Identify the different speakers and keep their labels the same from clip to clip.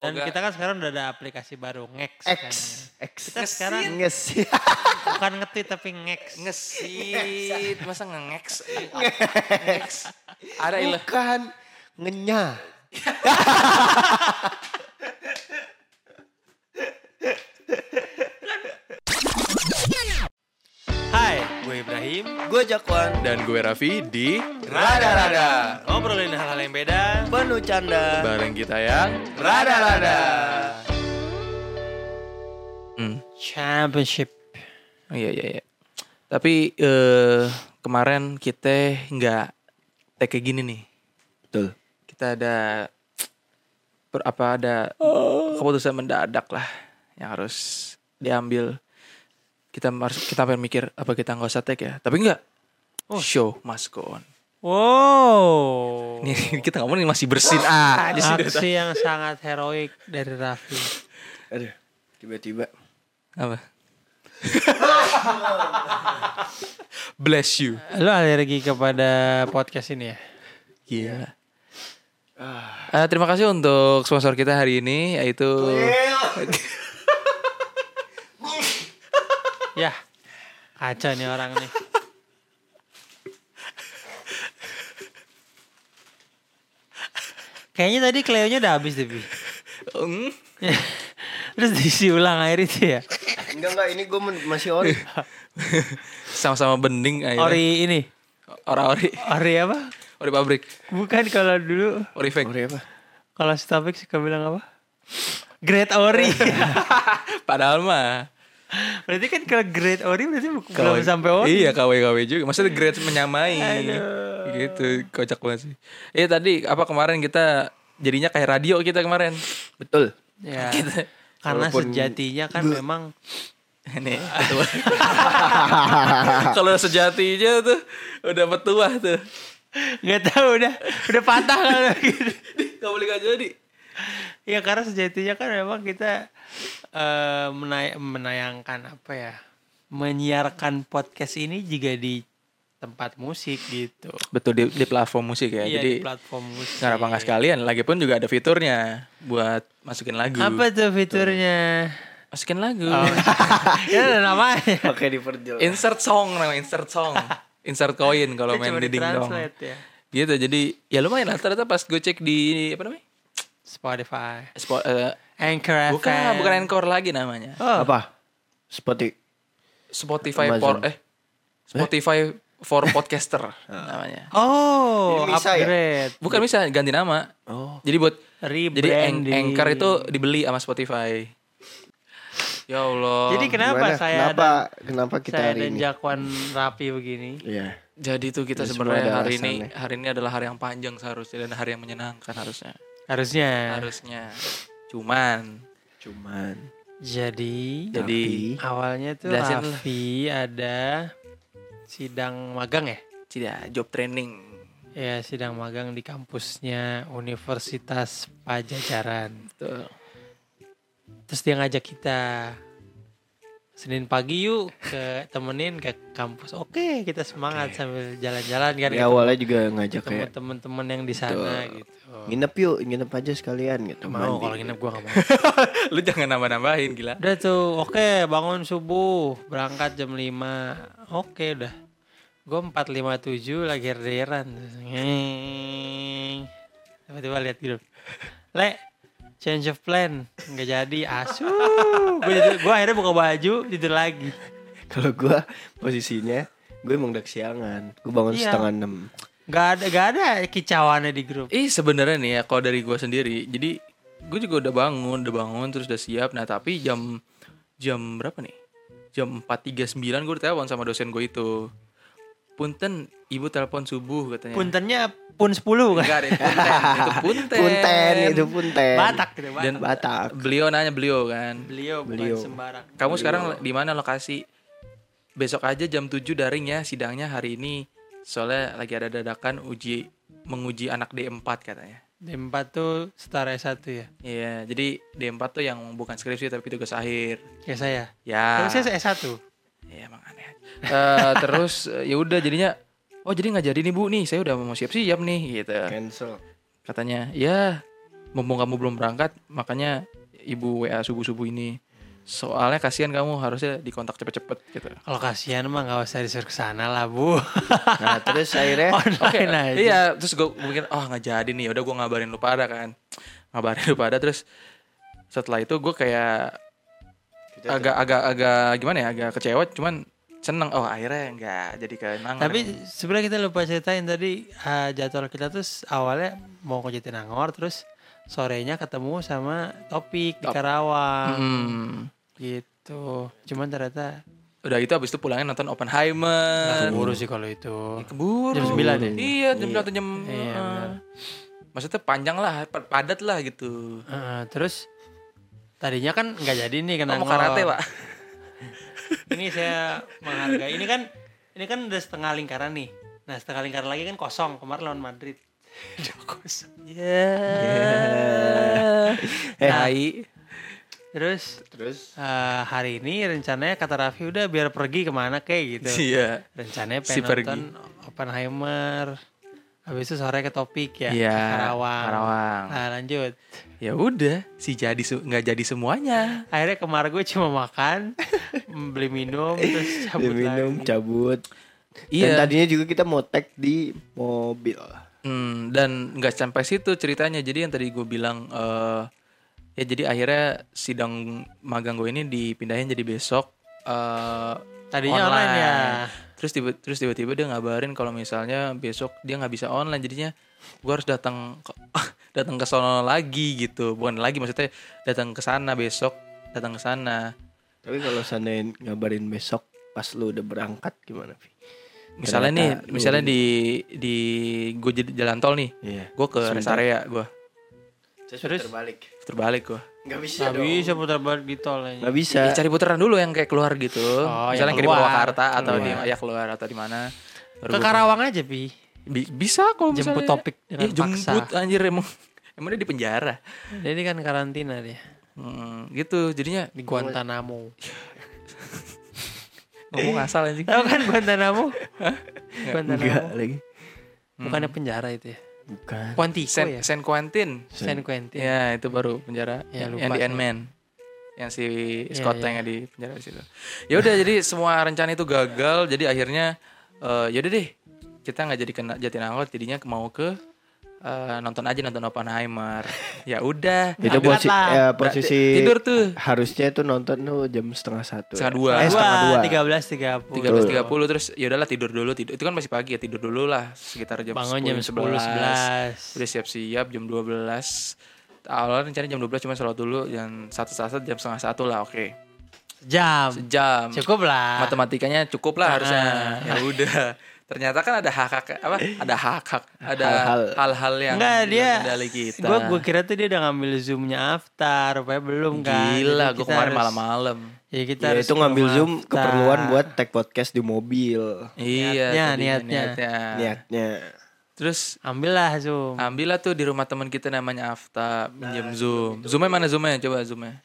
Speaker 1: Dan
Speaker 2: Oga.
Speaker 1: kita kan sekarang udah ada aplikasi baru, Ngex.
Speaker 2: Eh,
Speaker 3: X.
Speaker 1: kan.
Speaker 3: X.
Speaker 1: Kita sekarang
Speaker 3: Ngesit.
Speaker 1: bukan ngetweet tapi Ngex.
Speaker 2: Ngesit, masa nge-ngex? Ngex. Ada ilah.
Speaker 3: Bukan. Ngenya.
Speaker 1: Hai, gue Ibrahim.
Speaker 3: Gue Jakwan.
Speaker 2: Dan gue Raffi di
Speaker 3: Rada-rada.
Speaker 1: Ngobrolin hal-hal yang beda.
Speaker 3: Penuh canda.
Speaker 2: Bareng kita ya. yang
Speaker 3: Rada-rada.
Speaker 2: Hmm.
Speaker 1: Championship.
Speaker 2: Oh, iya iya iya. Tapi eh, kemarin kita nggak take kayak gini nih.
Speaker 3: Betul.
Speaker 2: Kita ada per- apa ada
Speaker 3: Oh.
Speaker 2: keputusan mendadak lah yang harus diambil. Kita harus kita pengen mikir apa kita nggak usah take ya. Tapi nggak.
Speaker 3: Oh.
Speaker 2: Show must go on.
Speaker 1: Wow.
Speaker 2: Ini kita ngomongin masih bersin Ah, aja sih dari tadi.
Speaker 1: Aksi yang sangat heroik dari Raffi.
Speaker 3: Aduh. Tiba-tiba.
Speaker 2: Apa? Bless you.
Speaker 1: Lo alergi kepada podcast ini ya?
Speaker 2: Gila. Iya. Eh, terima kasih untuk sponsor kita hari ini yaitu
Speaker 1: Yah, kaca Ya, nih orang nih. Kayaknya tadi kleonya udah habis deh, Bi.
Speaker 2: Hmm?
Speaker 1: Terus diisi ulang air itu ya.
Speaker 3: Enggak enggak ini gue masih ori.
Speaker 2: sama-sama bening akhirnya.
Speaker 1: Ori ini.
Speaker 2: Ora ori.
Speaker 1: Ori apa?
Speaker 2: Ori pabrik.
Speaker 1: Bukan kalau dulu
Speaker 2: Ori fake.
Speaker 3: Ori apa?
Speaker 1: kalau Starbucks suka bilang apa? Great Ori.
Speaker 2: Padahal mah.
Speaker 1: berarti kan kalau Great Ori berarti bu-
Speaker 2: KW
Speaker 1: belum sampai Ori.
Speaker 2: Iya KW-KW juga. Maksudnya grade menyamai. Gitu. Kocak banget sih. Iya tadi apa kemarin kita jadinya kayak radio kita kemarin.
Speaker 3: Betul.
Speaker 1: Ya. Karena
Speaker 3: Walaupun-
Speaker 1: sejatinya kan memang
Speaker 2: Nih, petua. Kalau sejatinya tuh udah petua tuh.
Speaker 1: nggak tahu udah udah patah kalau gitu.
Speaker 2: Gak boleh gak jadi.
Speaker 1: Ya karena sejatinya kan memang kita eh, menay- menayangkan apa ya menyiarkan podcast ini juga di tempat musik gitu.
Speaker 2: Betul di, di platform musik ya.
Speaker 1: Iya
Speaker 2: jadi
Speaker 1: di platform musik.
Speaker 2: nggak apa nggak sekalian. Lagi pun juga ada fiturnya buat masukin lagu.
Speaker 1: Apa Oh. tuh fiturnya?
Speaker 2: Masukin lagu.
Speaker 1: ya ada namanya.
Speaker 3: Pakai diperjelas.
Speaker 2: insert song namanya insert song. insert koin kalau
Speaker 1: Itu
Speaker 2: main
Speaker 1: cuma
Speaker 2: di ding dong.
Speaker 1: di-translate ya.
Speaker 2: Gitu jadi ya lumayan lah ternyata pas gue cek di apa namanya?
Speaker 1: Spotify.
Speaker 2: Spo- eh,
Speaker 1: Anchor
Speaker 2: bukan
Speaker 1: FM.
Speaker 2: bukan encore lagi namanya.
Speaker 1: Oh.
Speaker 3: Apa? Seperti
Speaker 2: Spotify
Speaker 3: Amazon.
Speaker 2: for eh Spotify for podcaster namanya.
Speaker 1: Oh,
Speaker 3: Jadi bisa ya?
Speaker 1: upgrade.
Speaker 2: Bukan bisa ganti nama.
Speaker 3: Oh.
Speaker 2: Jadi buat jadi An-
Speaker 1: Rebranding.
Speaker 2: anchor itu dibeli sama Spotify. Ya Allah.
Speaker 1: Jadi kenapa
Speaker 3: gimana?
Speaker 1: saya
Speaker 3: kenapa
Speaker 1: dan-
Speaker 3: kenapa kita
Speaker 1: saya
Speaker 3: hari
Speaker 1: dan
Speaker 3: ini?
Speaker 1: Jakwan rapi begini?
Speaker 3: Iya.
Speaker 2: Jadi tuh kita
Speaker 3: Ya, semua
Speaker 2: sebenarnya
Speaker 3: ada
Speaker 2: hari ini
Speaker 3: alasannya.
Speaker 2: hari ini adalah hari yang panjang seharusnya dan hari yang menyenangkan harusnya.
Speaker 1: Harusnya.
Speaker 2: Harusnya. Cuman
Speaker 3: Cuman
Speaker 1: Jadi
Speaker 2: jadi
Speaker 3: Tapi-
Speaker 1: awalnya tuh
Speaker 2: Jelasin dulu.
Speaker 1: Raffi ada sidang magang ya?
Speaker 2: tidak job training.
Speaker 1: Ya sidang magang di kampusnya Universitas Pajajaran.
Speaker 2: Tuh.
Speaker 1: Terus dia ngajak kita Senin pagi yuk ke temenin ke kampus. Oke, kita semangat sambil jalan-jalan kan.
Speaker 3: ya awalnya juga ngajak
Speaker 1: ketemu
Speaker 3: kayak
Speaker 1: temen-temen yang di sana gitu.
Speaker 3: nginep yuk, nginep aja sekalian gitu.
Speaker 1: Mau
Speaker 3: mandi.
Speaker 1: kalau nginep gua gak mau.
Speaker 2: Lu jangan nambah-nambahin gila.
Speaker 1: Udah tuh, oke bangun subuh, berangkat jam 5. Oke udah. Gue 457 lagi herderan. Ngeng. Tiba-tiba lihat gitu. Le, change of plan. Nggak jadi, asu. Gue akhirnya buka baju, tidur lagi.
Speaker 3: Kalau gua posisinya gue emang udah kesiangan. Gue bangun
Speaker 1: Iya.
Speaker 3: setengah enam.
Speaker 1: Gak ada, gak ada kicauannya di grup.
Speaker 2: Ih sebenarnya nih ya kalau dari gue sendiri, jadi gue juga udah bangun, udah bangun terus udah siap. Nah tapi jam jam berapa nih? Jam 4.39 gue ditelepon sama dosen gue itu. Punten, ibu telepon subuh katanya.
Speaker 1: Puntennya pun 10 kan.
Speaker 2: Enggak deh, punten. itu punten.
Speaker 3: Punten itu punten.
Speaker 1: Batak gitu, Batak.
Speaker 2: Dan
Speaker 3: Batak.
Speaker 2: beliau nanya beliau kan.
Speaker 1: beliau,
Speaker 3: Beliau.
Speaker 1: bukan sembarang.
Speaker 2: Kamu sekarang di mana lokasi? Besok aja jam 7 daring ya sidangnya hari ini. Soalnya lagi ada dadakan uji menguji anak D4 katanya.
Speaker 1: D4 tuh setara S1 ya.
Speaker 2: Iya, jadi D4 tuh yang bukan skripsi tapi tugas akhir.
Speaker 1: Kayak saya. Tapi
Speaker 2: Ya.
Speaker 1: saya S1.
Speaker 2: Iya, emang aneh. Eh, terus eh, ya udah jadinya oh jadi nggak jadi nih Bu nih, saya udah mau siap-siap nih gitu.
Speaker 3: Cancel.
Speaker 2: Katanya, "Ya, mumpung kamu belum berangkat makanya ibu WA subuh subuh ini soalnya kasihan kamu harusnya dikontak cepet-cepet gitu oke
Speaker 1: Kalau kasihan mah nggak usah disuruh ke sana lah bu.
Speaker 3: Nah terus akhirnya
Speaker 1: Online aja.
Speaker 2: iya terus gue mungkin oh nggak jadi nih udah gue ngabarin lu pada kan ngabarin lu pada terus setelah itu gue kayak
Speaker 3: kita
Speaker 1: Oh,
Speaker 3: tuh-
Speaker 2: agak agak agak gimana ya agak kecewa cuman seneng oh akhirnya nggak jadi kenangan
Speaker 1: Tapi sebenarnya kita lupa ceritain tadi eh, jadwal kita tuh s- awalnya mau ke Jatinangor terus sorenya ketemu sama Topik di
Speaker 2: Top.
Speaker 1: Karawang
Speaker 2: Hmm.
Speaker 1: gitu. Cuman ternyata
Speaker 2: udah itu abis itu pulangnya nonton Oppenheimer
Speaker 1: keburu sih kalau itu.
Speaker 2: Ya, keburu
Speaker 1: Jam 9 ya?
Speaker 2: iya jam sembilan atau jam
Speaker 1: Iya,
Speaker 2: eh,
Speaker 1: benar.
Speaker 2: maksudnya panjang lah pa- padat lah gitu
Speaker 1: Eh, terus tadinya kan nggak jadi nih ke Nangor.
Speaker 2: kamu karate pak
Speaker 1: Ini saya menghargai. Ini kan ini kan udah setengah lingkaran nih. Nah setengah lingkaran lagi kan kosong kemarin lawan Madrid. Dua kosong.
Speaker 3: Eh
Speaker 1: Nah.
Speaker 3: hai
Speaker 1: Terus
Speaker 3: Terus
Speaker 1: eh, hari ini rencananya kata Raffi udah biar pergi kemana kayak gitu.
Speaker 2: iya
Speaker 1: Rencananya
Speaker 2: Si
Speaker 1: pengen
Speaker 2: pergi.
Speaker 1: nonton Oppenheimer. Habis itu sore ke topik ya.
Speaker 2: Iya,
Speaker 1: Karawang.
Speaker 2: Karawang.
Speaker 1: Nah, lanjut.
Speaker 2: ya udah si jadi se- nggak jadi semuanya
Speaker 1: Akhirnya kemarin gue cuma makan, beli minum, terus cabut
Speaker 3: dia minum
Speaker 1: lagi.
Speaker 3: cabut
Speaker 2: Iya.
Speaker 3: Dan tadinya juga kita mau tag di mobil
Speaker 2: Hmm, dan nggak sampai situ ceritanya. Jadi yang tadi gue bilang eh ya jadi akhirnya sidang magang gue ini dipindahin jadi besok. eh
Speaker 1: Tadinya online ya.
Speaker 2: Terus tiba terus tiba-tiba dia ngabarin kalau misalnya besok dia nggak bisa online. Jadinya gue harus datang ke, datang ke sono lagi gitu. Bukan lagi maksudnya datang ke sana besok, datang ke sana.
Speaker 3: Tapi kalau sandain ngabarin besok Pas lu udah berangkat gimana Vi?
Speaker 2: Misalnya nih,
Speaker 3: Ternyata lu-
Speaker 2: misalnya
Speaker 1: hmm.
Speaker 2: di di gue jadi jalan tol nih.
Speaker 3: Iya
Speaker 2: Gue ke rest
Speaker 3: Sebentar.
Speaker 2: area gue
Speaker 3: Terus
Speaker 1: Terus?
Speaker 3: terbalik
Speaker 2: terbalik gue.
Speaker 3: Gak bisa
Speaker 1: Gak
Speaker 3: dong
Speaker 1: bisa putar balik di tol aja.
Speaker 3: Gak bisa
Speaker 2: Ya, cari putaran dulu yang kayak keluar gitu.
Speaker 1: Oh,
Speaker 2: Misalnya
Speaker 1: yang
Speaker 2: kayak di
Speaker 1: keluar.
Speaker 2: Purwakarta atau di
Speaker 1: Keluar.
Speaker 2: ya keluar atau di mana. Baru
Speaker 1: Ke
Speaker 2: gua-
Speaker 1: Karawang aja, Pi.
Speaker 2: Bi- bisa kalau misalnya.
Speaker 1: Jemput topik dengan
Speaker 2: Iya, jemput
Speaker 1: paksa.
Speaker 2: anjir emang. Emang dia di penjara.
Speaker 1: Jadi kan karantina dia
Speaker 2: Hmm, gitu jadinya
Speaker 1: di Guantanamo.
Speaker 2: ngomong asal anjing.
Speaker 1: Tahu kan Guantanamo? Guantanamo.
Speaker 3: Enggak lagi
Speaker 1: Bukannya
Speaker 2: Hmm.
Speaker 1: penjara itu ya.
Speaker 3: Bukan
Speaker 1: Quantico
Speaker 2: Sen,
Speaker 1: ya.
Speaker 2: San Quentin.
Speaker 1: San Quentin.
Speaker 3: Eh,
Speaker 2: Ya, itu baru penjara
Speaker 1: Gitu. Ya,
Speaker 2: yang,
Speaker 1: lupa
Speaker 2: yang di
Speaker 1: saya.
Speaker 2: Ant-Man. Yang si
Speaker 1: Ya,
Speaker 2: Scott
Speaker 1: ya.
Speaker 2: yang di penjara di situ. Ya udah jadi semua rencana itu gagal, jadi akhirnya ya yaudah deh kita nggak jadi kena Jatinangor jadinya mau ke eh, nonton aja nonton Oppenheimer. ya udah.
Speaker 1: Ya,
Speaker 3: Itu
Speaker 1: berat
Speaker 3: posisi
Speaker 1: lah.
Speaker 3: eh, posisi
Speaker 2: tidur tuh.
Speaker 3: Harusnya tuh nonton tuh jam setengah satu
Speaker 2: Setengah dua.
Speaker 3: Eh setengah dua
Speaker 1: tiga belas tiga puluh.
Speaker 2: 13.30 terus ya udahlah tidur dulu tidur. Itu kan masih pagi ya tidur dulu lah sekitar jam
Speaker 1: Bangun jam
Speaker 2: 10,
Speaker 1: 11.
Speaker 2: Udah siap-siap jam 12. Awalnya rencana jam 12 cuma sholat dulu dan satu saat jam setengah satu lah oke.
Speaker 1: Jam.
Speaker 2: Sejam.
Speaker 1: Cukup lah. Ah.
Speaker 2: matematikanya cukup lah harusnya ya udah ternyata kan ada hak hak apa ada hak hak ada
Speaker 3: Hal-hal.
Speaker 2: hal-hal yang
Speaker 1: Eh. Enggak
Speaker 2: di luar
Speaker 1: dia.
Speaker 2: kendali kita
Speaker 1: Gue gue kira tuh dia udah ngambil zoomnya Aftar, rupanya belum kan.
Speaker 2: gila
Speaker 1: Jadi
Speaker 2: gue
Speaker 1: kita
Speaker 2: kemarin
Speaker 1: harus-
Speaker 2: malam-malam
Speaker 1: Ya kita
Speaker 3: Ya
Speaker 1: harus
Speaker 3: itu ngambil
Speaker 1: ke
Speaker 3: zoom
Speaker 1: Aftar.
Speaker 3: keperluan buat tag podcast di mobil
Speaker 2: iya
Speaker 1: Niatnya,
Speaker 2: tadinya
Speaker 1: niatnya.
Speaker 3: Niatnya
Speaker 2: terus
Speaker 1: Ambil lah zoom.
Speaker 2: ambillah tuh di rumah teman kita namanya
Speaker 1: Nah,
Speaker 2: Afta minjem zoom zoomnya mana zoomnya coba zoomnya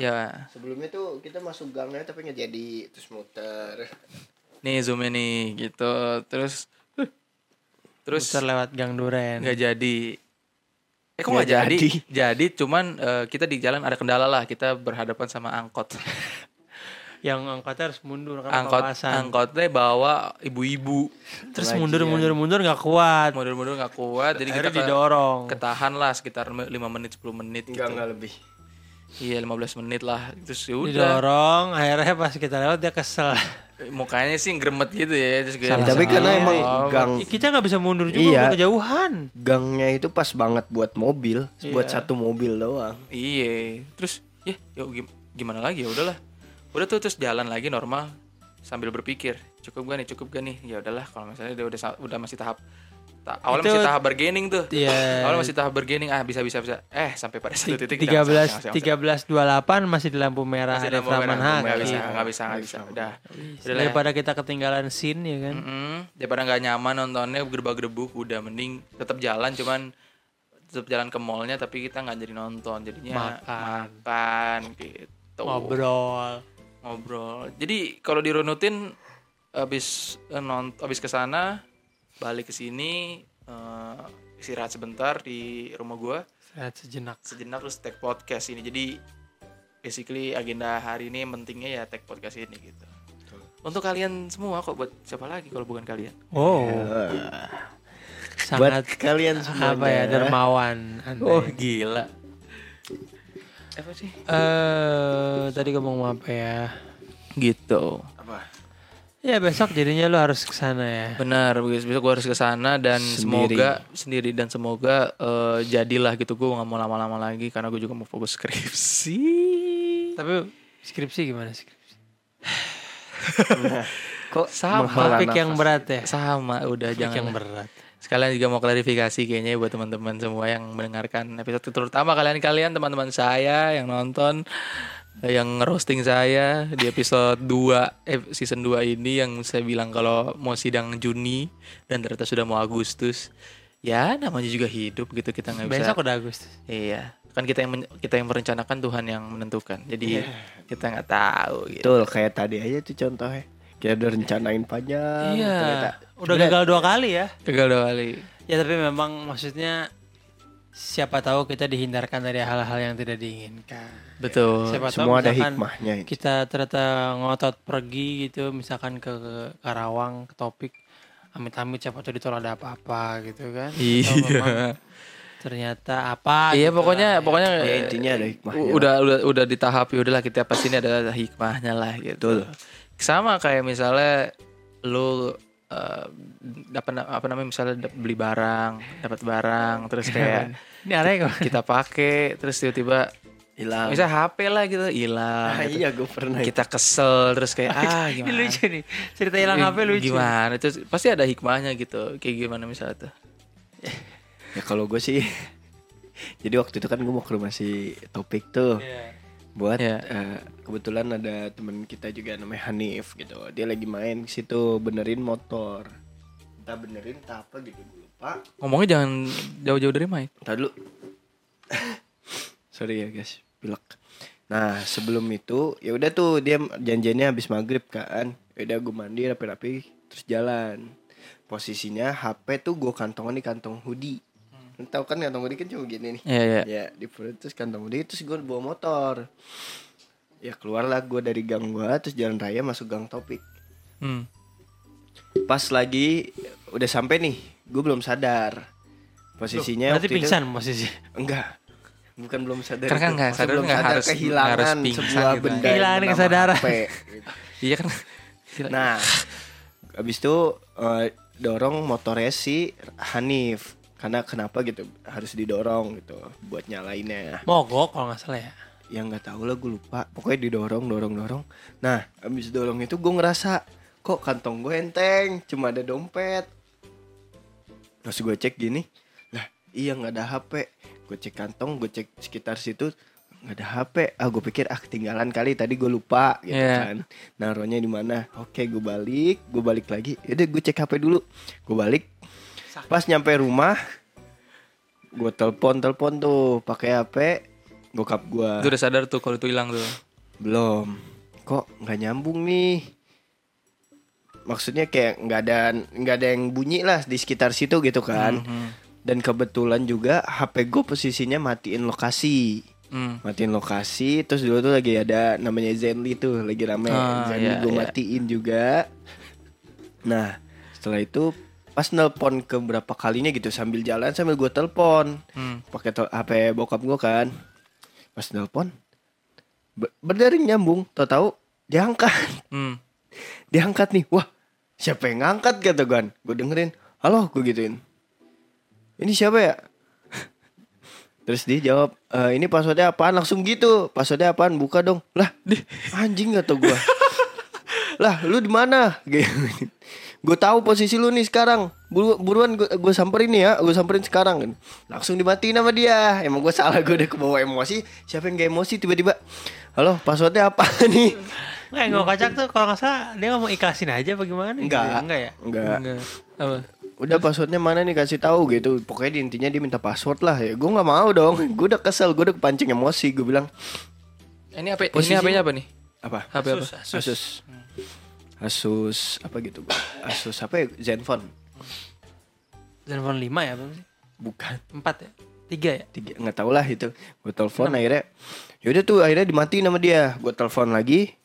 Speaker 2: ya
Speaker 3: Sebelumnya tuh kita masuk gangnya tapi nggak jadi terus muter.
Speaker 2: Ya, nih zoomnya nih gitu terus terus
Speaker 1: Putar lewat Gang Duren.
Speaker 2: nggak jadi eh kok nggak
Speaker 3: Nggak
Speaker 2: jadi
Speaker 3: jadi.
Speaker 2: jadi cuman eh, kita di jalan ada kendala lah kita berhadapan sama angkot
Speaker 1: Yang angkotnya harus mundur karena
Speaker 2: angkot
Speaker 1: papasan.
Speaker 2: angkotnya bawa ibu-ibu
Speaker 1: Terus mundur mundur mundur nggak kuat.
Speaker 2: mundur-mundur nggak kuat jadi kita
Speaker 1: Akhirnya
Speaker 2: ke-
Speaker 1: didorong.
Speaker 2: ketahan lah sekitar 5 menit 10 menit
Speaker 3: Enggak
Speaker 2: gitu
Speaker 3: enggak lebih.
Speaker 2: iya 15 menit lah terus ya udah
Speaker 1: Didorong, akhirnya pas kita lewat dia kesel.
Speaker 2: mukanya sih gremet gitu ya terus gue-
Speaker 1: Salah
Speaker 3: tapi
Speaker 1: sendiri.
Speaker 3: karena emang gang
Speaker 1: Ih, Kita nggak bisa mundur juga
Speaker 3: Iya.
Speaker 1: udah kejauhan.
Speaker 3: gangnya itu pas banget buat mobil,
Speaker 1: Iya.
Speaker 3: buat satu mobil doang.
Speaker 2: Iya, terus ya, ya gim- gimana lagi ya udahlah. Udah tuh terus jalan lagi normal sambil berpikir, cukup gak nih, cukup gak nih. Ya udahlah kalau misalnya dia udah sa- udah masih tahap ta- awalnya
Speaker 1: Itu-
Speaker 2: masih tahap bargaining tuh.
Speaker 1: Iya.
Speaker 2: Awalnya masih tahap bargaining, ah bisa bisa bisa. Eh, sampai pada satu titik
Speaker 1: Tiga
Speaker 2: jangan,
Speaker 1: belas
Speaker 2: jangan, jangan,
Speaker 1: tiga belas dua delapan masih di lampu merah ada
Speaker 2: jangan. Masih ada
Speaker 1: Framan
Speaker 2: momen- nggak
Speaker 1: Haki.
Speaker 2: bisa, nggak bisa, nggak bisa. Udah. Udah lah.
Speaker 1: Iya,
Speaker 2: ya. Mm.
Speaker 1: Daripada kita ketinggalan scene ya kan.
Speaker 2: Mm-mm. daripada nggak nyaman nontonnya gerbak-gerbuk udah mending tetap jalan cuman tetap jalan ke mallnya tapi kita nggak jadi nonton
Speaker 1: Makan.
Speaker 2: jadinya makan gitu
Speaker 1: Ngobrol.
Speaker 2: ngobrol. Jadi kalau dirunutin abis eh, non abis ke sana balik ke sini eh, istirahat sebentar di rumah gua.
Speaker 1: Sehat sejenak.
Speaker 2: sejenak terus tag podcast ini jadi basically agenda hari ini yang pentingnya ya tag podcast ini gitu untuk kalian semua kok buat siapa lagi kalau bukan kalian
Speaker 1: Wow,
Speaker 3: Eh, buat
Speaker 1: sangat
Speaker 3: kalian semuanya.
Speaker 1: apa ya dermawan. Anda
Speaker 2: oh
Speaker 1: ya.
Speaker 2: gila apa sih
Speaker 1: Eh, tadi ngomong apa ya?
Speaker 2: gitu
Speaker 3: Apa?
Speaker 1: Ya besok jadinya lu harus ke sana ya.
Speaker 2: benar guys besok gue harus ke sana dan
Speaker 3: Sendiri.
Speaker 2: semoga sendiri dan semoga eh, jadilah gitu gue nggak mau lama-lama lagi karena gue juga mau fokus skripsi
Speaker 1: Tapi skripsi gimana skripsi?
Speaker 3: Kok
Speaker 2: Oh, Sama.
Speaker 3: menghela
Speaker 1: Topik yang
Speaker 3: nafas?
Speaker 1: berat ya.
Speaker 2: sama udah
Speaker 1: Topik yang
Speaker 2: jangan
Speaker 1: berat.
Speaker 2: Sekalian juga mau klarifikasi kayaknya ya buat teman-teman semua yang mendengarkan episode itu. terutama kalian-kalian teman-teman saya yang nonton eh, yang roasting saya di episode 2 eh, season 2 ini yang saya bilang kalau mau sidang Juni dan ternyata sudah mau Agustus. Ya, namanya juga hidup gitu kita nggak bisa.
Speaker 1: Besok udah Agustus.
Speaker 2: Iya, kan kita yang men- kita yang merencanakan Tuhan yang menentukan. Jadi
Speaker 1: Iya.
Speaker 2: kita nggak tahu gitu.
Speaker 3: Betul, kayak tadi aja tuh contohnya. Kita udah rencanain panjang. ternyata-
Speaker 1: Iya. Udah
Speaker 3: Ah, Sebenarnya-
Speaker 1: gagal dua kali ya.
Speaker 2: Gagal dua kali.
Speaker 1: Ya tapi memang maksudnya siapa tahu kita dihindarkan dari hal-hal yang tidak diinginkan.
Speaker 2: Betul.
Speaker 1: Siapa tahu
Speaker 3: Oh, Semua ada
Speaker 1: misalkan
Speaker 3: hikmahnya itu.
Speaker 1: Kita ternyata ngotot pergi gitu misalkan ke ke Karawang ke topik amit-amit siapa tahu ditolak ada apa-apa gitu kan. Atau memang
Speaker 2: Iya.
Speaker 1: Ternyata apa
Speaker 2: Iya,
Speaker 1: gitu lah.
Speaker 2: pokoknya pokoknya
Speaker 3: Ya, intinya ada hikmahnya.
Speaker 2: U- udah udah udah di tahap ya udahlah kita pasti ini ada hikmahnya lah gitu. Sama kayak misalnya lu eh, dapat na- apa namanya misalnya dap- beli barang, dapat barang terus kayak
Speaker 3: Iya.
Speaker 1: ini arahnya
Speaker 3: Ya,
Speaker 1: kemana?
Speaker 2: kita pakai terus tiba-tiba
Speaker 3: hilang.
Speaker 2: misalnya HP lah gitu hilang.
Speaker 3: Ah,
Speaker 2: gitu.
Speaker 3: iya, gue pernah.
Speaker 2: Kita kesel terus kayak ah
Speaker 1: Ini
Speaker 2: gimana?
Speaker 1: lucu nih. Cerita hilang HP lucu.
Speaker 2: Gimana? Terus pasti ada hikmahnya gitu. Kayak gimana misalnya tuh.
Speaker 3: Ya kalau gue sih Jadi waktu itu kan gue mau ke rumah si Topik tuh
Speaker 1: Iya.
Speaker 3: Buat
Speaker 2: Iya.
Speaker 3: eh, kebetulan ada temen kita juga namanya Hanif gitu Dia lagi main ke situ benerin motor Entah benerin entah apa gitu gue lupa
Speaker 2: Ngomongnya jangan jauh-jauh dari mic.
Speaker 3: Entah dulu Sorry ya guys pilek Nah sebelum itu ya udah tuh dia janjiannya habis maghrib kan Yaudah gue mandi rapi-rapi terus jalan Posisinya HP tuh gue kantongin di kantong hoodie
Speaker 1: Hmm.
Speaker 3: Lu Tau kan kantong hoodie kan cuma gini nih
Speaker 2: Iya, iya.
Speaker 3: ya di perut terus kantong dia terus gue bawa motor ya keluarlah gue dari gang gue terus jalan raya masuk gang topik
Speaker 2: Hmm.
Speaker 3: pas lagi udah sampai nih gue belum sadar posisinya
Speaker 1: Berarti
Speaker 3: waktu itu-
Speaker 1: pingsan posisi.
Speaker 3: enggak bukan belum sadar
Speaker 2: Karena kan
Speaker 3: itu.
Speaker 2: nggak
Speaker 3: Maksudnya
Speaker 2: sadar,
Speaker 3: belum
Speaker 2: nggak
Speaker 3: sadar
Speaker 2: harus-
Speaker 3: kehilangan
Speaker 2: nggak harus pingsan
Speaker 3: sebuah
Speaker 2: gitu.
Speaker 3: benda
Speaker 1: Kehilangan
Speaker 3: yang bernama
Speaker 1: kesadaran.
Speaker 3: HP, gitu.
Speaker 2: Iya kan. Gila.
Speaker 3: nah abis itu eh, dorong motornya si Hanif karena kenapa gitu harus didorong gitu buat nyalainnya
Speaker 1: Mogok kalau nggak salah ya.
Speaker 3: ya nggak tahu lah gue lupa pokoknya didorong dorong dorong nah abis dorong itu gue ngerasa kok kantong gue enteng cuma ada dompet terus gue cek gini lah iya nggak ada hp gue cek kantong gue cek sekitar situ nggak ada hp ah gue pikir ah ketinggalan kali tadi gue lupa gitu
Speaker 2: Iya.
Speaker 3: kan naruhnya di mana oke gue balik gue balik lagi yaudah gue cek hp dulu gue balik pas nyampe rumah gue telepon telepon tuh pakai hp bokap gue
Speaker 2: Itu udah sadar tuh kalau itu hilang tuh.
Speaker 3: belum. Kok nggak nyambung nih? Maksudnya kayak nggak ada nggak ada yang bunyi lah di sekitar situ gitu kan.
Speaker 2: Mhm.
Speaker 3: Dan kebetulan juga HP gue posisinya matiin lokasi.
Speaker 2: Hmm.
Speaker 3: Matiin lokasi terus dulu tuh lagi ada namanya Zenly tuh lagi rame.
Speaker 2: Ah,
Speaker 3: Zenly
Speaker 2: iya,
Speaker 3: gue
Speaker 2: iya.
Speaker 3: matiin juga. Nah, setelah itu pas nelpon ke berapa kalinya gitu sambil jalan sambil gue telepon
Speaker 2: Hmm.
Speaker 3: pakai tel- HP bokap gue kan pas nelpon be- berdering nyambung tau tau diangkat
Speaker 2: Hmm.
Speaker 3: diangkat nih wah siapa yang ngangkat kata gue gue dengerin halo gue gituin ini siapa ya terus dia jawab "Eh, ini passwordnya apaan langsung gitu passwordnya apaan buka dong lah anjing kata gue lah lu di mana gue tahu posisi lu nih sekarang Buru- buruan gue samperin nih ya gue samperin sekarang kan langsung dimatiin sama dia emang gue salah gue udah kebawa emosi siapa yang gak emosi tiba-tiba halo passwordnya apa nih
Speaker 1: Nggak,
Speaker 3: Iya,
Speaker 1: yang gua kocak tuh kalau nggak salah dia ngomong ikhlasin aja bagaimana?
Speaker 3: Enggak.
Speaker 1: Enggak ya?
Speaker 3: Enggak.
Speaker 2: Enggak. Apa?
Speaker 3: Udah passwordnya mana nih kasih tahu gitu. Pokoknya di intinya dia minta password lah ya. Gue nggak mau dong. Gue udah kesel. Gue udah kepancing emosi. Gue bilang
Speaker 2: Ini apa?
Speaker 3: Posisi-
Speaker 2: Ini HP-nya apa nih?
Speaker 3: apa?
Speaker 2: HP apa?
Speaker 3: Asus. Asus, apa gitu? gua? Asus apa ya? Zenfone.
Speaker 1: Telepon 5 ya? Bang?
Speaker 3: Bukan.
Speaker 1: 4 ya? Tiga ya?
Speaker 3: tiga nggak tau lah itu gue telepon akhirnya yaudah tuh akhirnya dimatiin sama dia gue telepon lagi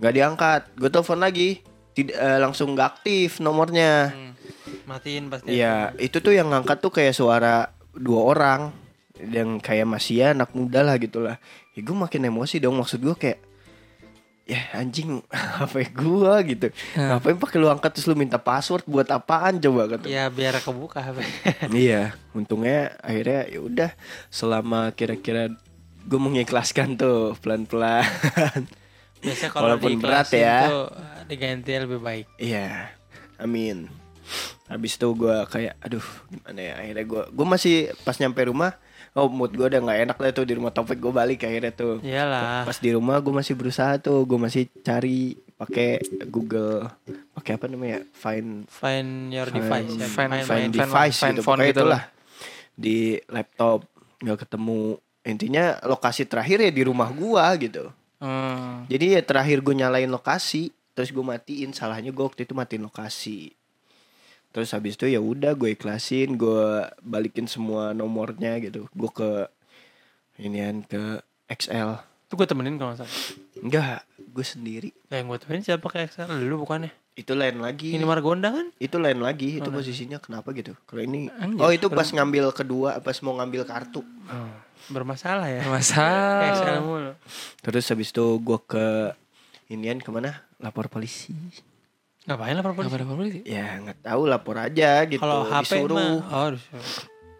Speaker 3: nggak diangkat gue telepon lagi tidak eh, langsung nggak aktif nomornya
Speaker 1: Matiin pasti.
Speaker 3: Iya, itu tuh yang ngangkat tuh kayak suara dua orang yang kayak masih ya anak muda lah gitu lah. Ya gue makin emosi dong maksud gue kayak ya anjing HP gua gitu. Ngapain pakai lu angkat terus lu minta password buat apaan coba kata.
Speaker 1: Ya biar kebuka HP.
Speaker 3: Iya, untungnya akhirnya ya udah selama kira-kira gue mengikhlaskan tuh pelan-pelan.
Speaker 1: Biasanya kalau
Speaker 3: Walaupun berat
Speaker 1: diikhlasin
Speaker 3: ya.
Speaker 1: tuh, eh, diganti lebih baik.
Speaker 3: Iya, amin. Habis itu gua kayak, aduh gimana ya akhirnya gua gua masih pas nyampe rumah, oh mood gua udah nggak enak lah tuh di rumah topik gua balik akhirnya tuh.
Speaker 1: Iya. Iyalah.
Speaker 3: Pas di rumah gua masih berusaha tuh, gua masih cari pakai Google, pakai apa namanya, find
Speaker 1: Find your device. ya.
Speaker 2: Find-
Speaker 1: Find
Speaker 3: find
Speaker 1: my-
Speaker 3: device
Speaker 2: find
Speaker 3: gitu,
Speaker 2: phone
Speaker 3: pokoknya
Speaker 2: gitu
Speaker 3: itulah di laptop nggak ketemu intinya lokasi terakhir ya di rumah gua gitu.
Speaker 2: Hmm.
Speaker 3: Jadi ya terakhir gue nyalain lokasi, terus gue matiin. Salahnya gue waktu itu matiin lokasi. Terus habis itu ya udah gue ikhlasin, gue balikin semua nomornya gitu. Gue ke inian ke XL.
Speaker 1: Itu gue temenin kalau nggak salah.
Speaker 3: Enggak, gue sendiri.
Speaker 1: Ya, yang gue temenin siapa ke XL dulu bukannya.
Speaker 3: Itu lain lagi.
Speaker 1: Ini Margonda kan?
Speaker 3: itu lain lagi, itu posisinya kenapa gitu? Kalau ini
Speaker 2: Anjir,
Speaker 3: Oh, itu pas ngambil kedua, pas mau ngambil kartu.
Speaker 1: Bermasalah ya.
Speaker 2: Eh,
Speaker 1: Ke XL
Speaker 2: Masalah.
Speaker 1: mulu.
Speaker 3: Terus habis itu gue ke inian kemana? Lapor polisi.
Speaker 1: Ngapain lapor
Speaker 2: Gak
Speaker 1: polisi?
Speaker 2: pada apa-apa sih.
Speaker 3: Ya nggak tahu lapor aja gitu.
Speaker 1: Kalau HP
Speaker 3: disuruh.
Speaker 1: mah, oh, disuruh.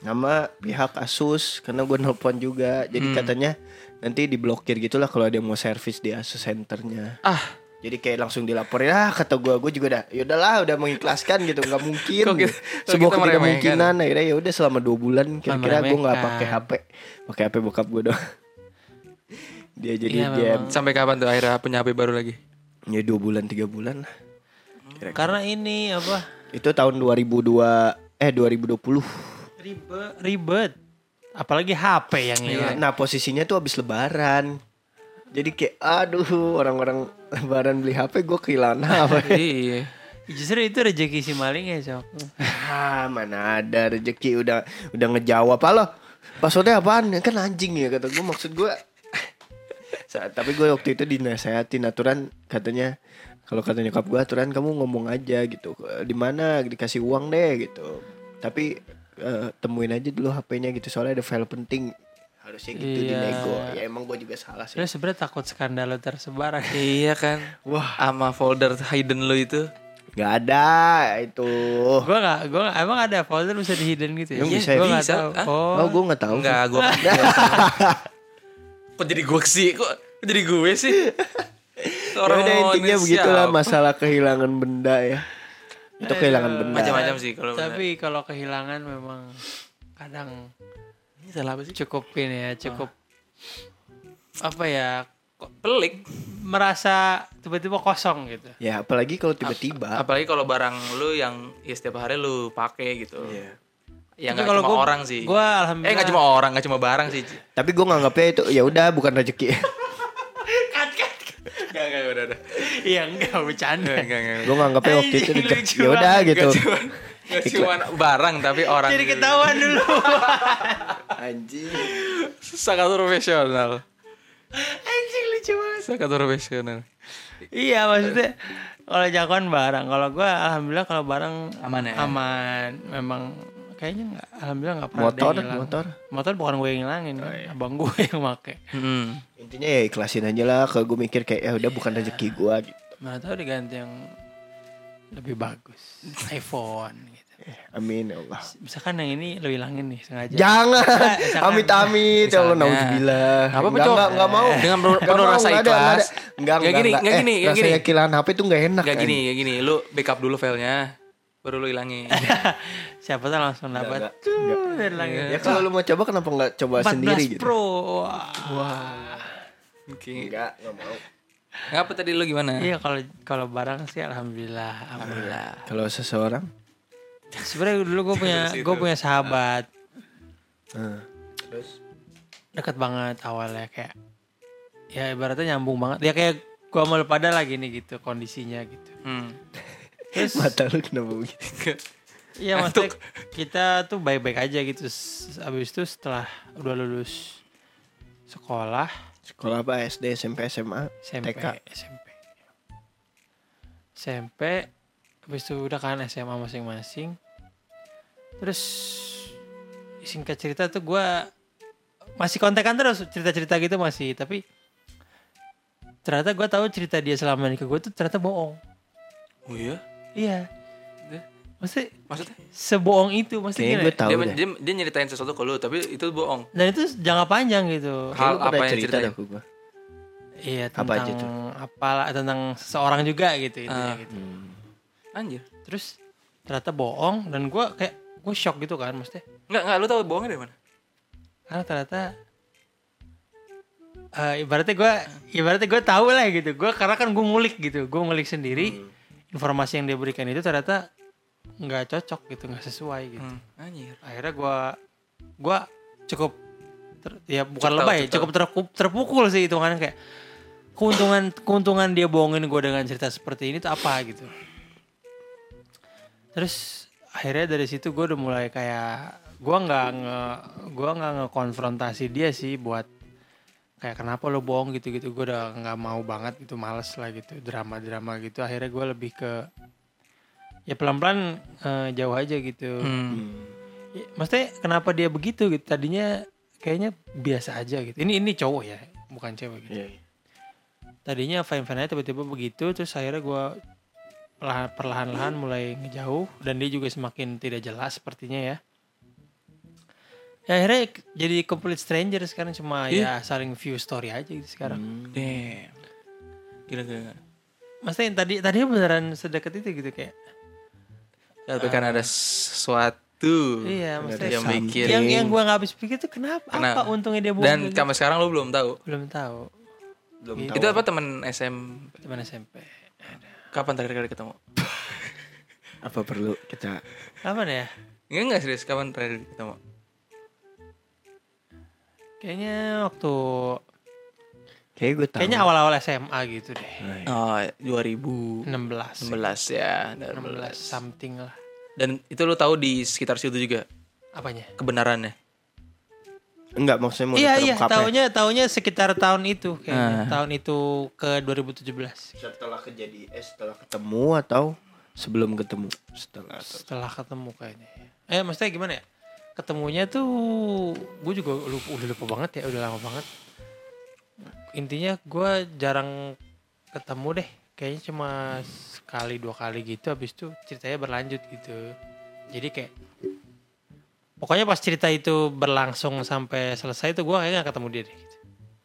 Speaker 3: nama pihak Asus karena gue nelpon juga jadi katanya nanti diblokir gitulah kalau ada yang mau servis di Asus Centernya
Speaker 2: Ah,
Speaker 3: jadi kayak langsung dilaporin ah kata gue gue juga dah yaudahlah udah mengikhlaskan gitu nggak mungkin
Speaker 2: Kok kita- kok
Speaker 3: sebuah
Speaker 2: kita meremehkan?
Speaker 3: kemungkinan akhirnya ya udah selama dua bulan kira-kira gue nggak
Speaker 1: Meremehkan.
Speaker 3: pakai HP pakai HP bokap gue doang dia jadi
Speaker 1: Iya,
Speaker 3: dia
Speaker 1: memang.
Speaker 2: sampai kapan tuh akhirnya punya HP baru lagi?
Speaker 3: ya dua bulan tiga bulan lah
Speaker 1: Karena ini apa?
Speaker 3: itu tahun 2002 eh 2020
Speaker 1: Ribet, ribet. Apalagi HP yang ini.
Speaker 3: Iya. Nah posisinya tuh habis lebaran Jadi kayak aduh orang-orang lebaran beli HP gue kehilangan HP
Speaker 2: Iya.
Speaker 1: Justru itu rezeki si maling ya, Cok.
Speaker 3: ah, Mana ada rezeki udah udah ngejawab Halo passwordnya apaan Ya Kan anjing ya kata gue maksud gue Sa- Tapi gue waktu itu dinasehatin aturan katanya kalau kata nyokap gue aturan kamu ngomong aja gitu "E, di mana dikasih uang deh gitu tapi eh, temuin aja dulu HP-nya gitu soalnya ada file penting harusnya gitu
Speaker 1: Iya.
Speaker 3: dinego ya emang gue juga salah sih
Speaker 1: Terus sebenarnya takut skandal lo tersebar.
Speaker 2: Iya kan.
Speaker 3: Wah.
Speaker 2: Sama folder hidden lo itu.
Speaker 3: Gak ada itu.
Speaker 1: Gue gak, gue gak, emang ada folder bisa di hidden gitu ya?
Speaker 3: Emang
Speaker 1: Iya,
Speaker 3: bisa ya?
Speaker 1: gua nggak
Speaker 2: Bisa.
Speaker 1: tahu.
Speaker 2: Hah?
Speaker 1: Oh,
Speaker 3: Oh, gue nggak tahu.
Speaker 2: Enggak, gue Kok jadi gue sih? Kok kok jadi gue sih? mau
Speaker 3: Orang Ya intinya
Speaker 2: ini
Speaker 3: begitulah
Speaker 2: siapa?
Speaker 3: masalah kehilangan benda ya. Itu kehilangan benda.
Speaker 2: Eh, Macam-macam sih kalau
Speaker 1: tapi kalau kehilangan memang kadang
Speaker 2: bener. Ini salah apa sih?
Speaker 1: cukupin ya, cukup apa ya? kok
Speaker 2: Pelik.
Speaker 1: Merasa tiba-tiba kosong gitu.
Speaker 3: Ya apalagi kalau tiba-tiba.
Speaker 2: Apalagi kalau barang lu yang ya setiap hari lu pakai gitu.
Speaker 3: Iya.
Speaker 2: Ya
Speaker 1: Tapi
Speaker 2: nggak
Speaker 1: kalau
Speaker 2: cuma
Speaker 1: gua-
Speaker 2: orang sih.
Speaker 1: gua
Speaker 2: Eh
Speaker 1: alhamdulillah-
Speaker 2: nggak cuma orang, nggak cuma barang sih. Ci.
Speaker 3: Tapi gue nganggapnya itu ya udah bukan rezeki.
Speaker 2: Enggak, enggak, udah, udah.
Speaker 1: Iya enggak bercanda.
Speaker 2: Enggak, enggak.
Speaker 3: gue nganggapnya waktu itu
Speaker 1: Anjing,
Speaker 3: rezeki.
Speaker 1: lucu
Speaker 3: Ya udah
Speaker 1: banget.
Speaker 3: gitu.
Speaker 2: Nggak cuma barang tapi orang.
Speaker 1: Jadi
Speaker 2: gitu.
Speaker 1: ketahuan dulu.
Speaker 3: Anjing.
Speaker 2: gitu. Sangat profesional.
Speaker 1: Anjing lucu banget.
Speaker 2: Sangat profesional.
Speaker 1: Iya maksudnya kalau jagoan barang, kalau gua alhamdulillah kalau barang
Speaker 2: Aman ya?
Speaker 1: Aman, memang kayaknya nggak, alhamdulillah nggak pernah ada
Speaker 3: Motor,
Speaker 1: yang hilang.
Speaker 3: motor?
Speaker 1: motor bukan gue yang ngilangin, kan. abang gue yang make.
Speaker 2: Hmm.
Speaker 3: Intinya ya ikhlasin aja lah. Kalau gue mikir kayak ya udah bukan rezeki gue. Gitu.
Speaker 1: Mana tahu diganti yang lebih bagus, iPhone. gitu.
Speaker 3: Eh, Amin ya Allah.
Speaker 1: Misalkan yang ini lo hilangin nih sengaja.
Speaker 3: Jangan,
Speaker 1: Misalkan-
Speaker 3: amit-amit, ya Allah
Speaker 2: Misalnya.
Speaker 3: nauzubillah.
Speaker 2: Nggak apa-apa,
Speaker 3: Nggak,
Speaker 2: Cok.
Speaker 3: nggak, nggak mau.
Speaker 2: Dengan penuh-
Speaker 3: Nggak
Speaker 2: penuh
Speaker 3: mau,
Speaker 2: rasa
Speaker 3: nggak ada, nggak
Speaker 2: ikhlas.
Speaker 3: ada. Nggak,
Speaker 2: Nggak gini,
Speaker 3: nggak, nggak.
Speaker 2: nggak
Speaker 3: Eh,
Speaker 2: gini, nggak
Speaker 3: rasanya
Speaker 2: gini.
Speaker 3: kehilangan HP itu nggak enak.
Speaker 2: Gak
Speaker 3: kan?
Speaker 2: gini, gak gini. Lu backup dulu filenya, baru lu hilangin.
Speaker 1: Siapa tahu langsung dapat.
Speaker 3: nggak,
Speaker 1: tuh,
Speaker 3: nggak.
Speaker 1: dari langit.
Speaker 3: Ya kalau lu mau coba kenapa nggak coba
Speaker 1: 14
Speaker 3: sendiri gitu?
Speaker 1: Pro. Wah.
Speaker 2: Oke.
Speaker 3: Enggak, enggak mau.
Speaker 2: Apa tadi lu gimana?
Speaker 1: Iya kalau kalau barang sih alhamdulillah, alhamdulillah.
Speaker 3: Kalau seseorang
Speaker 1: Sebenarnya dulu gue punya gue punya sahabat
Speaker 3: terus
Speaker 1: deket banget awalnya kayak ya ibaratnya nyambung banget ya kayak gua sama lu pada lagi nih gitu kondisinya gitu
Speaker 2: Hmm.
Speaker 1: terus
Speaker 3: mata lu kenapa begitu?
Speaker 1: Iya maksudnya kita tuh baik-baik aja gitu. S- Abis itu setelah udah lulus sekolah,
Speaker 3: Sekolah apa SD, SMP, SMA,
Speaker 1: SMP,
Speaker 3: TK.
Speaker 1: SMP, SMP, abis itu udah kan SMA masing-masing. Terus singkat cerita tuh gua masih kontekan terus cerita-cerita gitu masih, tapi ternyata gua tahu cerita dia selama ini ke gue tuh ternyata bohong.
Speaker 2: Oh iya?
Speaker 1: Iya.
Speaker 2: Eh?
Speaker 1: Maksudnya
Speaker 2: Maksudnya?
Speaker 1: sebohong itu maksudnya
Speaker 3: Kayaknya
Speaker 1: gila
Speaker 3: gue
Speaker 1: ya?
Speaker 3: tahu
Speaker 2: dia,
Speaker 3: deh.
Speaker 2: dia, dia nyeritain sesuatu ke lu, tapi itu bohong.
Speaker 1: dan itu jangka panjang gitu
Speaker 2: Hal
Speaker 3: Lu pernah
Speaker 2: apa yang
Speaker 3: cerita
Speaker 2: ceritain?
Speaker 3: dah ke gue.
Speaker 1: iya tentang
Speaker 3: Apa aja tuh?
Speaker 1: apalah tentang seorang juga gitu intinya
Speaker 2: Ah.
Speaker 1: gitu
Speaker 2: Anjir.
Speaker 1: terus ternyata bohong dan gue kayak gue shock gitu kan maksudnya
Speaker 2: Enggak, enggak lu tahu bohongnya dari mana?
Speaker 1: karena ternyata eh, ibaratnya gue ibaratnya gue tahu lah gitu gue karena kan gue ngulik gitu gue ngulik sendiri informasi yang dia berikan itu ternyata nggak cocok gitu nggak sesuai gitu
Speaker 2: Hmm. Anjir.
Speaker 1: akhirnya gue gue cukup ter- ya bukan
Speaker 2: Cukup
Speaker 1: lebay
Speaker 2: tahu, cukup
Speaker 1: cukup terku- terpukul sih hitungannya kayak keuntungan keuntungan dia bohongin gue dengan cerita seperti ini tuh apa gitu terus akhirnya dari situ gue udah mulai kayak gue nggak nge gue nggak ngekonfrontasi dia sih buat kayak kenapa lo bohong gitu gitu gue udah nggak mau banget gitu males lah gitu drama drama gitu akhirnya gue lebih ke ya pelan pelan jauh aja gitu
Speaker 2: Hmm.
Speaker 1: Ya, maksudnya kenapa dia begitu gitu? Tadinya kayaknya biasa aja gitu. Ini ini cowok ya, bukan cewek gitu.
Speaker 3: Iya.
Speaker 1: Tadinya fine fine aja tiba-tiba begitu terus akhirnya gua perlahan- perlahan-lahan mulai ngejauh dan dia juga semakin tidak jelas sepertinya ya. Ya akhirnya k- jadi complete stranger sekarang cuma ya saling view story aja gitu sekarang.
Speaker 2: Hmm. Damn. Gila gila. gila.
Speaker 1: Maksudnya yang tadi tadi beneran sedekat itu gitu kayak.
Speaker 2: Tapi kan ada sesuatu
Speaker 1: iya, maksudnya
Speaker 2: yang
Speaker 1: sa-
Speaker 2: bikin
Speaker 1: yang yang gua nggak habis pikir tuh kenapa
Speaker 2: Kena-
Speaker 1: apa untungnya dia bohong
Speaker 2: dan
Speaker 1: kayak gitu?
Speaker 2: sampai sekarang lu belum tahu.
Speaker 1: belum tahu
Speaker 3: Belum
Speaker 1: Gitu.
Speaker 2: Itu apa teman SM
Speaker 1: teman SMP.
Speaker 2: kapan terakhir kali ketemu?
Speaker 3: Apa perlu kita
Speaker 1: Kapan ya?
Speaker 2: Enggak enggak serius, kapan terakhir ketemu?
Speaker 1: Kayaknya waktu
Speaker 3: Kayaknya gue tahu.
Speaker 1: kayaknya awal-awal SMA gitu deh.
Speaker 3: Nah,
Speaker 2: Oh, 2016
Speaker 1: 16. 16
Speaker 2: ya, 16.
Speaker 1: something lah.
Speaker 2: Dan itu lu tahu di sekitar situ juga
Speaker 1: Apanya?
Speaker 2: kebenarannya.
Speaker 3: Enggak maksudnya mau
Speaker 1: Iya iya,
Speaker 3: terungkap ya.
Speaker 1: tahunnya tahunnya sekitar tahun itu kayaknya. Tahun itu ke 2017
Speaker 3: setelah kejadian eh, setelah ketemu atau sebelum ketemu setelah
Speaker 1: setelah ketemu kayaknya. Eh maksudnya gimana ya? Ketemunya tuh gue juga lupa, udah lupa banget ya, udah lama banget. Intinya gue jarang ketemu deh. Kayaknya cuma sekali dua kali gitu habis itu ceritanya berlanjut gitu. Jadi kayak pokoknya pas cerita itu berlangsung sampai selesai tuh gue kayaknya gak ketemu dia deh. Gitu.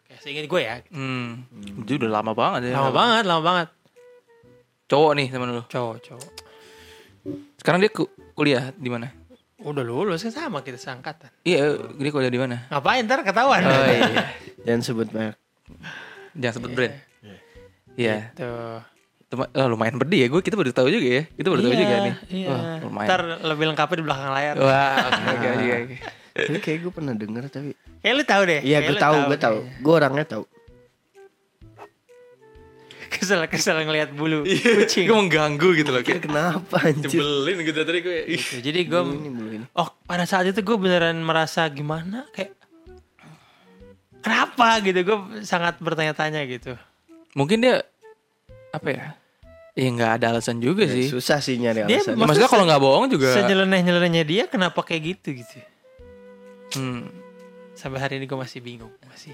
Speaker 1: Kayak seingat gue ya.
Speaker 2: Hmm. Itu udah lama banget ya.
Speaker 1: Lama banget, lama banget.
Speaker 2: Cowok nih teman lu.
Speaker 1: Cowok, cowok.
Speaker 2: Sekarang dia ku- kuliah di mana?
Speaker 1: Udah lulus kan sama kita seangkatan.
Speaker 2: Iya, dia kuliah di mana?
Speaker 1: Ngapain ntar ketahuan?
Speaker 2: Oh iya.
Speaker 3: dan sebut merek
Speaker 2: Jangan sebut brand. Iya.
Speaker 1: Tuh.
Speaker 2: Tem- eh, lumayan berdi ya gue kita baru tahu juga ya. Kita baru tahu juga nih.
Speaker 1: Iya.
Speaker 2: Wah, lumayan. Oh.
Speaker 1: Ntar lebih lengkapnya di belakang layar.
Speaker 2: Wah, oke oke oke, oke.
Speaker 3: Tapi kayak gue pernah denger tapi
Speaker 1: Kayak lu tahu kan? deh.
Speaker 3: iya
Speaker 1: kayak lu
Speaker 3: gue tahu gue tahu
Speaker 1: deh.
Speaker 3: gue orangnya tahu
Speaker 1: Kesel kesel ngelihat bulu
Speaker 2: Kucing. Gue mengganggu gitu loh kayak
Speaker 3: kenapa anjir
Speaker 2: jebelin gitu tadi gue. Ih.
Speaker 1: gitu. Jadi gue
Speaker 3: Bulu
Speaker 2: Iya.
Speaker 3: ini bulu ini
Speaker 1: oh pada saat itu gue beneran merasa gimana kayak kenapa gitu gue sangat bertanya-tanya gitu.
Speaker 2: Mungkin dia apa ya? Ya nggak ada alasan juga
Speaker 3: Ya,
Speaker 2: sih.
Speaker 3: susah sih nyari
Speaker 1: Dia
Speaker 2: Ya,
Speaker 3: alasan
Speaker 2: maksudnya
Speaker 1: Maksudnya
Speaker 2: kalau nggak bohong juga.
Speaker 1: Sejeleneh-jelenehnya dia kenapa kayak gitu gitu.
Speaker 2: Hmm,
Speaker 1: Sampai hari ini gue masih bingung masih.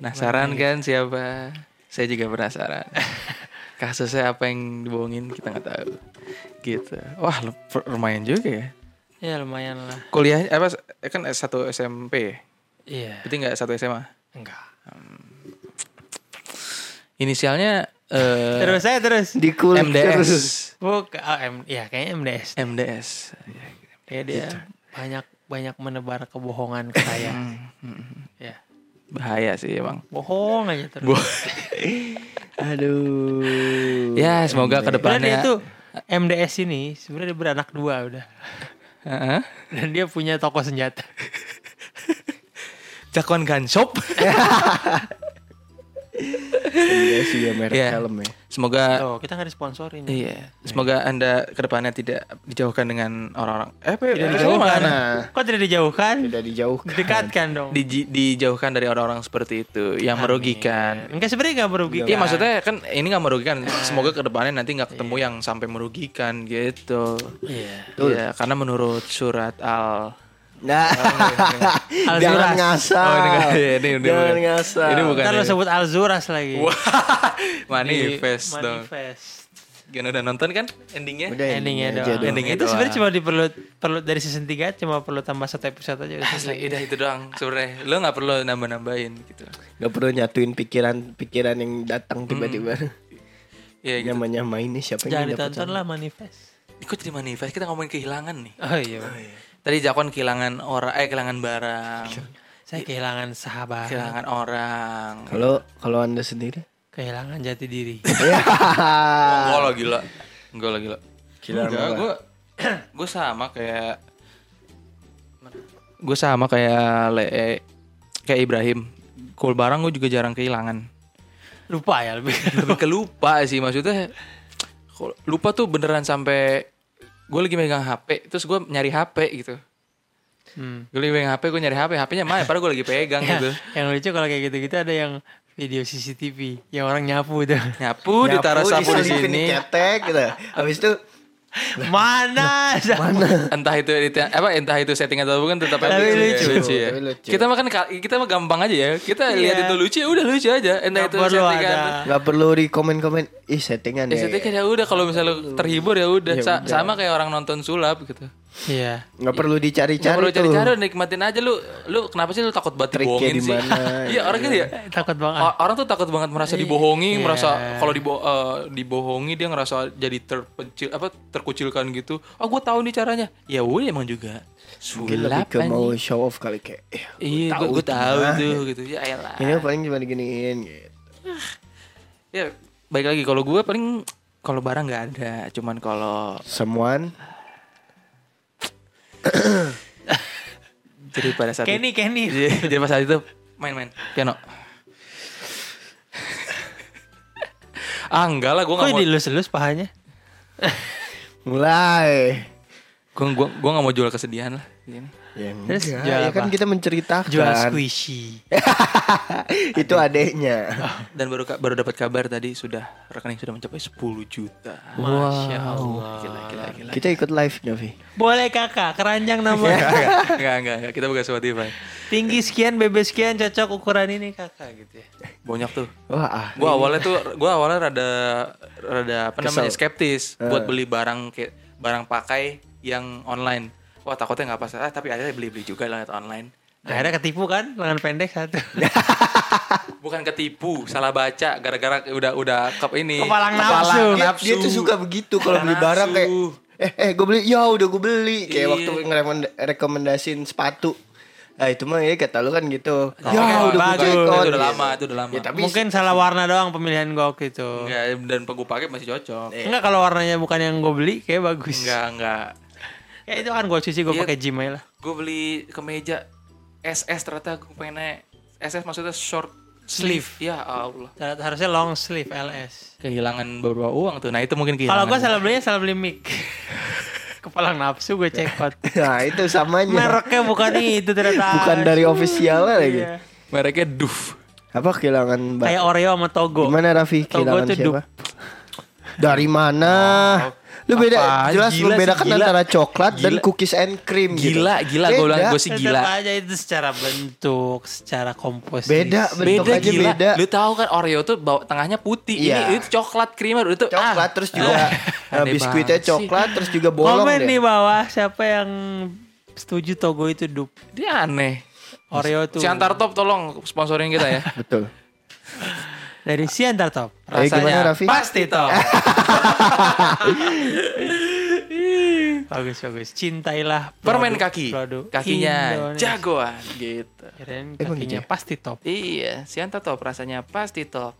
Speaker 2: penasaran kan siapa? Saya juga penasaran. Kasusnya apa yang dibohongin kita nggak tahu. Gitu. Wah, lu- lumayan juga ya.
Speaker 1: Ya lumayan lah.
Speaker 2: Kuliah apa kan satu SMP ya?
Speaker 1: Iya.
Speaker 2: Berarti nggak satu SMA.
Speaker 1: Enggak.
Speaker 2: Inisialnya eh,
Speaker 1: Terus saya terus.
Speaker 3: di kulit
Speaker 2: MDS.
Speaker 3: terus.
Speaker 1: Buk, ah, em- ya kayaknya MDS.
Speaker 2: MDS.
Speaker 1: Kayak Iya, dia
Speaker 2: Gitu.
Speaker 1: banyak banyak menebar kebohongan ke saya.
Speaker 2: Hmm,
Speaker 1: ya,
Speaker 2: Bahaya sih emang.
Speaker 1: bohong aja terus.
Speaker 2: Bo-
Speaker 3: aduh
Speaker 2: ya, semoga ke
Speaker 1: Sebenarnya dia
Speaker 2: depannya
Speaker 1: tuh MDS ini sebenarnya dia beranak dua udah.
Speaker 2: Heeh.
Speaker 1: Dan dia punya toko senjata.
Speaker 2: Cakuan Gun Shop.
Speaker 3: Iya sih ya merek
Speaker 2: Iya.
Speaker 3: helm ya.
Speaker 2: Semoga
Speaker 1: Tuh, kita nggak disponsorin.
Speaker 2: iya, semoga Anda kedepannya tidak dijauhkan dengan orang-orang eh apa ya?
Speaker 3: Tidak
Speaker 2: Maksudnya
Speaker 3: dijauhkan.
Speaker 2: mana?
Speaker 3: Nah,
Speaker 1: Kok tidak dijauhkan?
Speaker 3: tidak dijauhkan.
Speaker 1: Dekatkan dong.
Speaker 2: Diji- dijauhkan dari orang-orang seperti itu yang merugikan.
Speaker 1: Enggak sebenarnya nggak merugikan.
Speaker 2: Iya maksudnya kan ini nggak merugikan. Semoga kedepannya nanti nggak ketemu yang sampai merugikan gitu.
Speaker 1: Iya.
Speaker 2: Iya, karena menurut surat al
Speaker 3: Nah,
Speaker 2: iya,
Speaker 1: Al-Zuras.
Speaker 3: jangan ngasal.
Speaker 2: Oh, ini nggak- iya, ini- ini
Speaker 3: jangan
Speaker 2: bukan.
Speaker 3: ngasal.
Speaker 2: Ini bukan.
Speaker 1: Ntar lo
Speaker 2: ya.
Speaker 1: sebut Alzuras lagi.
Speaker 2: manifest
Speaker 1: Di-
Speaker 2: dong.
Speaker 1: Manifest.
Speaker 2: Gimana udah nonton kan endingnya?
Speaker 3: Udah
Speaker 1: Endingnya
Speaker 3: endingnya aja
Speaker 1: doang.
Speaker 3: dong.
Speaker 2: Endingnya
Speaker 1: itu
Speaker 2: ya, doang.
Speaker 1: sebenarnya cuma diperlu perlu dari season 3 cuma perlu tambah satu episode aja. udah selesai.
Speaker 2: Asli, udah itu doang sebenarnya. Lo nggak perlu nambah-nambahin gitu.
Speaker 3: Gak perlu nyatuin pikiran-pikiran yang datang tiba-tiba.
Speaker 2: Iya, Hmm. gitu.
Speaker 3: Nyama-nyamainnya siapa
Speaker 1: Jangan
Speaker 3: yang dapat.
Speaker 1: ditonton lah manifest.
Speaker 2: Ikut jadi manifest. Kita ngomongin kehilangan nih.
Speaker 1: Oh iya.
Speaker 2: Tadi Jakon kehilangan orang, eh kehilangan barang, Iya.
Speaker 1: Saya kehilangan sahabat,
Speaker 2: kehilangan orang.
Speaker 3: Kalau kalau Anda sendiri?
Speaker 1: kehilangan jati diri.
Speaker 2: Gue lo gila. Gue lo gila.
Speaker 3: Gila
Speaker 2: Enggak,
Speaker 3: apa?
Speaker 2: gue gue sama kayak gue sama kayak le eh, kayak Ibrahim. Kul barang gue juga jarang kehilangan.
Speaker 1: Lupa ya lebih.
Speaker 2: Lebih ke lupa sih maksudnya. kul- Lupa tuh beneran sampai gue lagi megang HP, terus gue nyari HP gitu.
Speaker 1: Hmm.
Speaker 2: Gue lagi megang HP, gue nyari HP, HP-nya mana? Padahal gue lagi pegang gitu.
Speaker 1: Ya, yang lucu kalau kayak gitu-gitu ada yang video CCTV yang orang nyapu tuh.
Speaker 2: Nyapu, ditaruh sapu di
Speaker 3: diselipin
Speaker 2: sini.
Speaker 3: Ketek gitu. Habis itu
Speaker 1: Mana? Mana?
Speaker 2: entah itu edit apa entah itu setting atau bukan tetap
Speaker 1: Tapi
Speaker 2: aja
Speaker 1: lucu.
Speaker 2: ya.
Speaker 3: Tapi lucu.
Speaker 2: Kita makan kita mah gampang aja ya. Kita
Speaker 1: Iya.
Speaker 2: lihat itu lucu ya udah lucu aja. Entah
Speaker 1: Nggak
Speaker 2: itu
Speaker 1: perlu
Speaker 2: settingan.
Speaker 1: ada.
Speaker 3: nggak perlu di komen-komen. Ih, settingan
Speaker 2: Ya
Speaker 3: ya.
Speaker 2: settingan ya udah kalau
Speaker 3: Iya,
Speaker 2: misalnya terhibur ya udah Sa- sama kayak orang nonton sulap gitu.
Speaker 1: Iya.
Speaker 3: Nggak perlu
Speaker 2: Gak
Speaker 3: dicari-cari
Speaker 2: perlu
Speaker 3: tuh.
Speaker 2: cari-cari nikmatin aja lu. Lu kenapa sih lu takut banget
Speaker 3: Triknya
Speaker 2: dibohongin
Speaker 3: di
Speaker 2: sih?
Speaker 3: mana,
Speaker 2: Iya orang kan ya.
Speaker 1: Takut banget.
Speaker 2: o- Orang tuh takut banget merasa
Speaker 1: Iya.
Speaker 2: dibohongi, merasa kalau dibo- eh, dibohongi dia ngerasa jadi terpencil apa terkucilkan gitu. Oh, gue tahu nih caranya. Ya udah emang juga.
Speaker 3: Mungkin lebih
Speaker 2: Sulap
Speaker 3: ke
Speaker 2: anjing.
Speaker 3: mau show off kali kayak. "Eh,
Speaker 2: Iya, gue gue tahu
Speaker 1: Ah.
Speaker 2: tuh gitu. Ya elah.
Speaker 3: Ini paling cuma diginiin gitu.
Speaker 2: Ya baik lagi kalau gue paling kalau barang nggak ada, cuman kalau
Speaker 3: Someone
Speaker 2: jadi pada saat
Speaker 1: Kenny, Kenny.
Speaker 2: itu, jadi pada saat itu main-main piano. ah enggak lah, gue nggak
Speaker 1: Kok
Speaker 2: mau,
Speaker 1: dilus-lus pahanya?
Speaker 3: mulai.
Speaker 2: gue gue gue nggak mau jual kesedihan lah. Iya. Gini.
Speaker 3: Ya,
Speaker 1: Terus
Speaker 3: enggak.
Speaker 1: jual
Speaker 3: ya kan
Speaker 1: apa?
Speaker 3: kita menceritakan.
Speaker 1: Jual squishy.
Speaker 3: itu adeknya.
Speaker 2: Dan baru ka- baru dapat kabar tadi sudah rekening sudah mencapai 10 juta.
Speaker 1: Masya Allah.
Speaker 2: Gila, gila, gila.
Speaker 3: Kita ikut live Novi.
Speaker 1: Boleh kakak, keranjang
Speaker 2: Iya.
Speaker 1: nama.
Speaker 2: Enggak, enggak, enggak. Kita bukan Spotify.
Speaker 1: Tinggi sekian, bebek sekian, cocok ukuran ini kakak gitu ya.
Speaker 2: Banyak tuh.
Speaker 3: Wah, ah.
Speaker 2: Gua awalnya tuh gua awalnya rada rada apa namanya skeptis
Speaker 3: Eh.
Speaker 2: buat beli barang kayak barang pakai yang online. Wah, takutnya nggak pas. Ah, tapi akhirnya beli-beli juga lah lewat online.
Speaker 1: Akhirnya ketipu kan, lengan pendek satu.
Speaker 2: Bukan ketipu, salah baca gara-gara udah udah kep ini.
Speaker 1: Kepalang nafsu.
Speaker 2: Kepalang
Speaker 3: dia,
Speaker 2: nafsu.
Speaker 3: dia tuh suka begitu kalau beli
Speaker 2: Nafsu.
Speaker 3: barang kayak eh eh gue beli ya udah gue beli kayak
Speaker 2: Iya.
Speaker 3: waktu ngerekomend- rekomendasiin sepatu. Ah itu mah ya kata lu kan gitu.
Speaker 2: Nah,
Speaker 3: ya
Speaker 2: oke,
Speaker 3: udah
Speaker 2: bagus.
Speaker 3: gue
Speaker 2: Itu
Speaker 3: cekot.
Speaker 2: udah lama, itu udah lama.
Speaker 3: Ya, tapi
Speaker 1: Mungkin salah warna doang pemilihan gue waktu itu.
Speaker 2: Enggak, dan gue pakai masih cocok.
Speaker 3: Eh.
Speaker 1: Enggak kalau warnanya bukan yang gue beli kayak bagus.
Speaker 2: Enggak, enggak.
Speaker 1: Kayak itu kan gue cuci gue
Speaker 2: Iya.
Speaker 1: pakai gym aja lah.
Speaker 2: Gue beli kemeja SS ternyata gue pengennya SS maksudnya short
Speaker 1: Sleeve.
Speaker 2: Ya Allah.
Speaker 1: Har- Harusnya long sleeve LS.
Speaker 2: Kehilangan beberapa uang tuh. Nah, itu mungkin
Speaker 1: Kalau
Speaker 2: kehilangan.
Speaker 1: gue salah belinya salah beli mic. Iya, kan. Kepala nafsu gue cekot.
Speaker 3: nah itu samanya.
Speaker 1: Mereknya bukan itu ternyata.
Speaker 3: Bukan dari official lagi.
Speaker 1: Iya.
Speaker 2: mereknya Duf.
Speaker 3: Apa kehilangan Mbak?
Speaker 1: Kayak Oreo sama Togo.
Speaker 3: Gimana Raffi
Speaker 1: Tau gua
Speaker 3: kehilangan
Speaker 1: tuh
Speaker 3: siapa? Dari mana? Lu beda
Speaker 2: Oh, apaan?
Speaker 3: jelas
Speaker 2: Gila sih,
Speaker 3: membedakan
Speaker 2: gila.
Speaker 3: antara coklat dan
Speaker 2: Gila.
Speaker 3: cookies and cream gitu.
Speaker 2: Gila, gila gue
Speaker 3: Beda.
Speaker 2: bilang gue sih
Speaker 1: Tetap
Speaker 2: gila.
Speaker 1: aja itu secara bentuk, secara komposisi.
Speaker 3: Beda, ben- Bentuk
Speaker 2: Beda
Speaker 3: aja
Speaker 2: gila.
Speaker 3: beda.
Speaker 2: Lu tahu kan Oreo tuh bawah tengahnya putih.
Speaker 3: Iya.
Speaker 2: Ini itu coklat krimnya itu
Speaker 3: Coklat terus juga eh,
Speaker 2: Ah. Oh. Aneh
Speaker 3: biskuitnya
Speaker 2: banget sih.
Speaker 3: coklat terus juga bolong
Speaker 1: Komen di
Speaker 3: deh.
Speaker 1: bawah siapa yang setuju Togo itu dup.
Speaker 2: dia aneh.
Speaker 1: Oreo tuh.
Speaker 2: Si Antar Top tolong sponsorin kita ya.
Speaker 3: Betul.
Speaker 1: Dari Siantar Top.
Speaker 3: Eh, gimana, Raffi?
Speaker 1: Pasti Top. bagus bagus. Cintailah produk-
Speaker 2: Permen kaki.
Speaker 1: Produk
Speaker 2: Kakinya
Speaker 1: Indonesia.
Speaker 2: jagoan gitu.
Speaker 1: Kirain
Speaker 3: Emang gitu
Speaker 1: kakinya
Speaker 3: ya?
Speaker 1: pasti top.
Speaker 2: Iya, si Antar Top rasanya pasti top.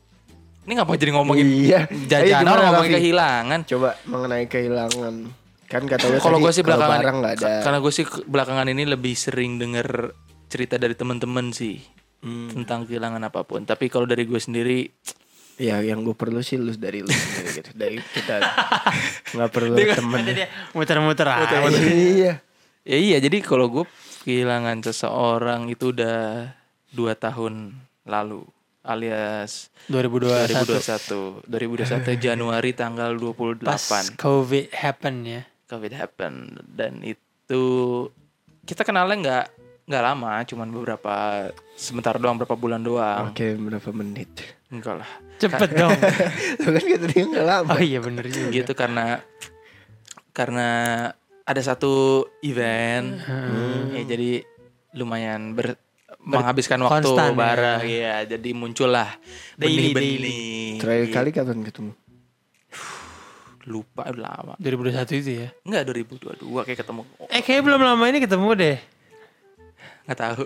Speaker 2: Ini ngapa jadi ngomongin
Speaker 3: Iya. Ayo,
Speaker 2: jajanan
Speaker 3: gimana,
Speaker 2: orang ngomongin
Speaker 3: Raffi?
Speaker 2: kehilangan.
Speaker 3: Coba mengenai kehilangan. Kan kata lu
Speaker 2: Kalau
Speaker 3: tadi,
Speaker 2: gue sih
Speaker 3: kalau
Speaker 2: belakangan
Speaker 3: barang nggak ada.
Speaker 2: ka- Karena gue sih ke- belakangan ini lebih sering denger
Speaker 3: Hmm.
Speaker 2: cerita dari teman-teman sih tentang kehilangan apapun. Tapi kalau dari gue sendiri
Speaker 3: Ya yang gue perlu sih lu dari lu sendiri gitu. Dari kita nggak perlu temen.
Speaker 1: Ada dia muter-muter aja.
Speaker 3: Iya.
Speaker 2: Ya iya, jadi kalau gue kehilangan seseorang itu udah dua tahun lalu alias
Speaker 1: 2021
Speaker 2: 2021 2021 Januari tanggal 28
Speaker 1: pas COVID happen ya.
Speaker 2: COVID happen dan itu kita kenalnya nggak nggak lama cuman beberapa sebentar doang berapa bulan doang
Speaker 3: Oke berapa menit?
Speaker 2: enggak lah
Speaker 1: Cepet dong.
Speaker 3: Lu kan kata dia nggak lama.
Speaker 1: Oh iya bener juga.
Speaker 2: gitu karena karena ada satu event
Speaker 1: Hmm.
Speaker 2: ya jadi lumayan ber- menghabiskan waktu
Speaker 1: konstan ya.
Speaker 2: bareng ya jadi muncullah
Speaker 1: Daily,
Speaker 2: benih-benih
Speaker 3: Terakhir kali kapan ketemu?
Speaker 2: lupa udah lama
Speaker 1: 2021 itu ya.
Speaker 2: enggak 2022 kayak ketemu
Speaker 1: Eh kayaknya belum lama ini ketemu deh.
Speaker 2: nggak tahu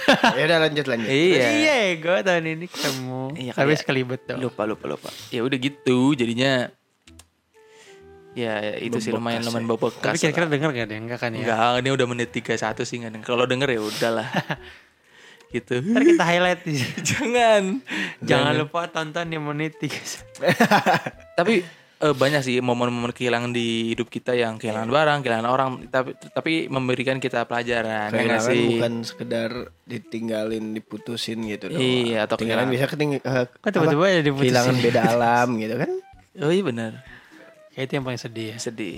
Speaker 3: ya udah lanjut lanjut.
Speaker 2: iya
Speaker 1: gue tahun ini ketemu.
Speaker 2: Iya,
Speaker 1: Tapi
Speaker 2: kayak-
Speaker 1: sekelibet dong.
Speaker 2: lupa lupa lupa ya udah gitu jadinya ya ya itu sih lumayan lumayan bekas
Speaker 1: Tapi
Speaker 2: lah.
Speaker 1: kira-kira denger gak deh? Enggak kan ya?
Speaker 2: Enggak, ini udah menit 31 sih nggak denger. Kalau denger ya udahlah. gitu.
Speaker 1: Ntar kita highlight di sini.
Speaker 2: Jangan.
Speaker 1: Jangan lupa tonton di menit 31.
Speaker 2: Tapi eh, banyak sih momen-momen kehilangan di hidup kita yang kehilangan barang, kehilangan orang, tapi tapi memberikan kita pelajaran. ya nggak
Speaker 3: Kehilangan
Speaker 2: sih?
Speaker 3: bukan sekedar ditinggalin, diputusin gitu doang.
Speaker 2: Iya, atau
Speaker 3: kehilangan
Speaker 2: kehilangan-
Speaker 3: bisa keting eh,
Speaker 1: Kok tiba-tiba
Speaker 3: apa?
Speaker 1: ya diputusin?
Speaker 3: Kehilangan beda alam gitu kan?
Speaker 2: Oh iya benar.
Speaker 1: Kayak itu yang paling sedih ya.
Speaker 2: Sedih.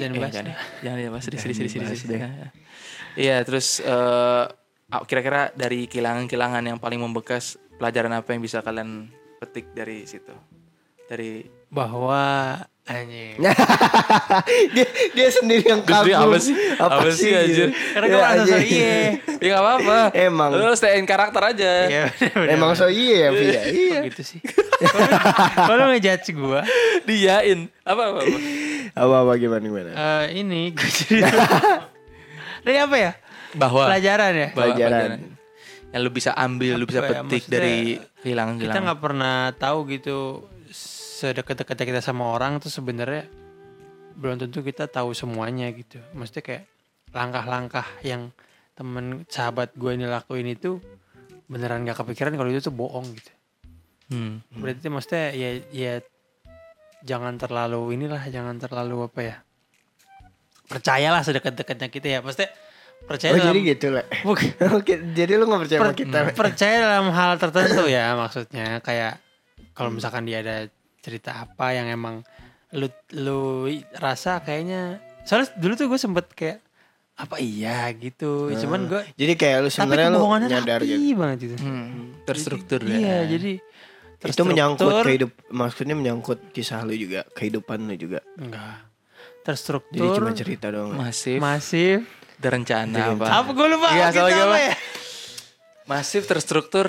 Speaker 1: Ah, jangan
Speaker 2: eh,
Speaker 1: bahas
Speaker 2: jangan,
Speaker 1: dah.
Speaker 2: deh. jangan deh, bahas sedih, sedih, sedih, sedih, sedih. Nah, Iya, terus eh, ah, kira-kira dari kehilangan-kehilangan yang paling membekas pelajaran apa yang bisa kalian petik dari situ? Dari
Speaker 1: Bahwa anjing.
Speaker 3: dia dia sendiri yang
Speaker 2: Terus
Speaker 3: kagum.
Speaker 2: dia apa sih? Apa sih, anjir?
Speaker 1: Karena
Speaker 3: kan
Speaker 1: gue merasa so iye.
Speaker 2: Ya gak apa-apa
Speaker 3: iya. Emang.
Speaker 2: Lu stay in karakter aja
Speaker 1: Iya bener-bener.
Speaker 3: Emang so iya ya, Fi, ya? Iya.
Speaker 1: Kok gitu sih. Kalau ngejudge gue,
Speaker 2: Diyain Apa-apa
Speaker 3: Apa-apa gimana gimana?
Speaker 1: eh ini gue jadi dari apa ya?
Speaker 2: Bahwa
Speaker 1: Pelajaran ya.
Speaker 2: bahwa
Speaker 3: Pelajaran.
Speaker 2: Yang lu bisa ambil Lu bisa
Speaker 1: Apa ya,
Speaker 2: petik
Speaker 1: maksudnya
Speaker 2: dari kehilangan
Speaker 1: Kita
Speaker 2: kehilangan
Speaker 1: nggak pernah tahu gitu sedekat-dekatnya kita sama orang tuh sebenarnya belum tentu kita tahu semuanya gitu. Maksudnya kayak langkah-langkah yang temen sahabat gue ini lakuin itu beneran gak kepikiran kalau itu tuh bohong gitu.
Speaker 2: hmm.
Speaker 1: Berarti maksudnya ya ya jangan terlalu inilah, jangan terlalu apa ya? Percayalah sedekat-dekatnya kita ya. Maksudnya percaya
Speaker 3: Oh
Speaker 1: dalam-
Speaker 3: jadi gitu lah.
Speaker 1: Bukan.
Speaker 3: Oke, jadi lu gak percaya sama
Speaker 1: Per-
Speaker 2: Hmm.
Speaker 3: kita? Le?
Speaker 1: percaya dalam hal tertentu ya maksudnya kayak kalau misalkan dia ada cerita apa yang emang lu lu i- rasa kayaknya soalnya dulu tuh gue sempet kayak apa iya gitu cuman gue
Speaker 3: Jadi kayak lu
Speaker 1: tapi
Speaker 3: sebenarnya lu
Speaker 1: kebohongannya
Speaker 3: nyadar
Speaker 1: rapi
Speaker 3: gitu.
Speaker 1: banget gitu
Speaker 2: Hmm. Terstruktur
Speaker 1: iya
Speaker 2: ya
Speaker 1: jadi
Speaker 3: Itu menyangkut
Speaker 1: terstruktur.
Speaker 3: kehidup maksudnya menyangkut kisah lu juga, kehidupan lu juga.
Speaker 1: enggak terstruktur
Speaker 3: Jadi cuma cerita doang.
Speaker 2: Masif
Speaker 1: masif
Speaker 2: Ada rencana apa
Speaker 1: apa gue lupa
Speaker 2: Iya,
Speaker 1: kita
Speaker 2: soalnya
Speaker 1: apa
Speaker 2: apa?
Speaker 1: ya
Speaker 2: Masif terstruktur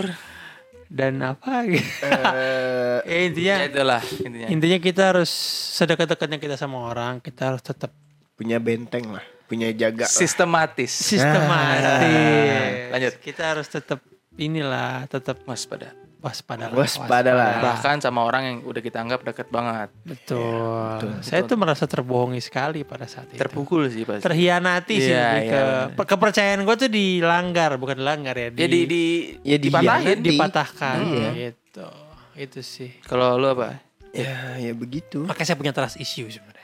Speaker 1: dan apa gitu
Speaker 3: Eh,
Speaker 1: ya intinya
Speaker 2: Ya itulah intinya
Speaker 1: intinya kita harus sedekat-dekatnya kita sama orang kita harus tetap
Speaker 3: punya benteng lah, punya jaga. lah.
Speaker 2: Sistematis
Speaker 1: sistematis.
Speaker 2: Ah. Lanjut.
Speaker 1: Kita harus tetap inilah, tetap
Speaker 2: Waspada
Speaker 1: waspada.
Speaker 3: Waspada
Speaker 1: Ah.
Speaker 3: lah.
Speaker 2: Bahkan sama orang yang udah kita anggap dekat banget
Speaker 1: Betul.
Speaker 2: Iya,
Speaker 1: Saya tuh merasa terbohongi sekali pada saat itu.
Speaker 2: Terpukul sih pasti
Speaker 1: Terhianati sih
Speaker 2: Iya,
Speaker 1: lebih
Speaker 2: iya,
Speaker 1: ke pe- kepercayaan gue tuh dilanggar, bukan dilanggar ya.
Speaker 2: Ya di, iya. di,
Speaker 3: Ya, di-
Speaker 2: dipatahin.
Speaker 1: di- dipatahkan gitu. Itu sih.
Speaker 2: Kalau lu apa?
Speaker 3: Ya, ya begitu.
Speaker 1: Makanya saya punya trust issue sebenarnya.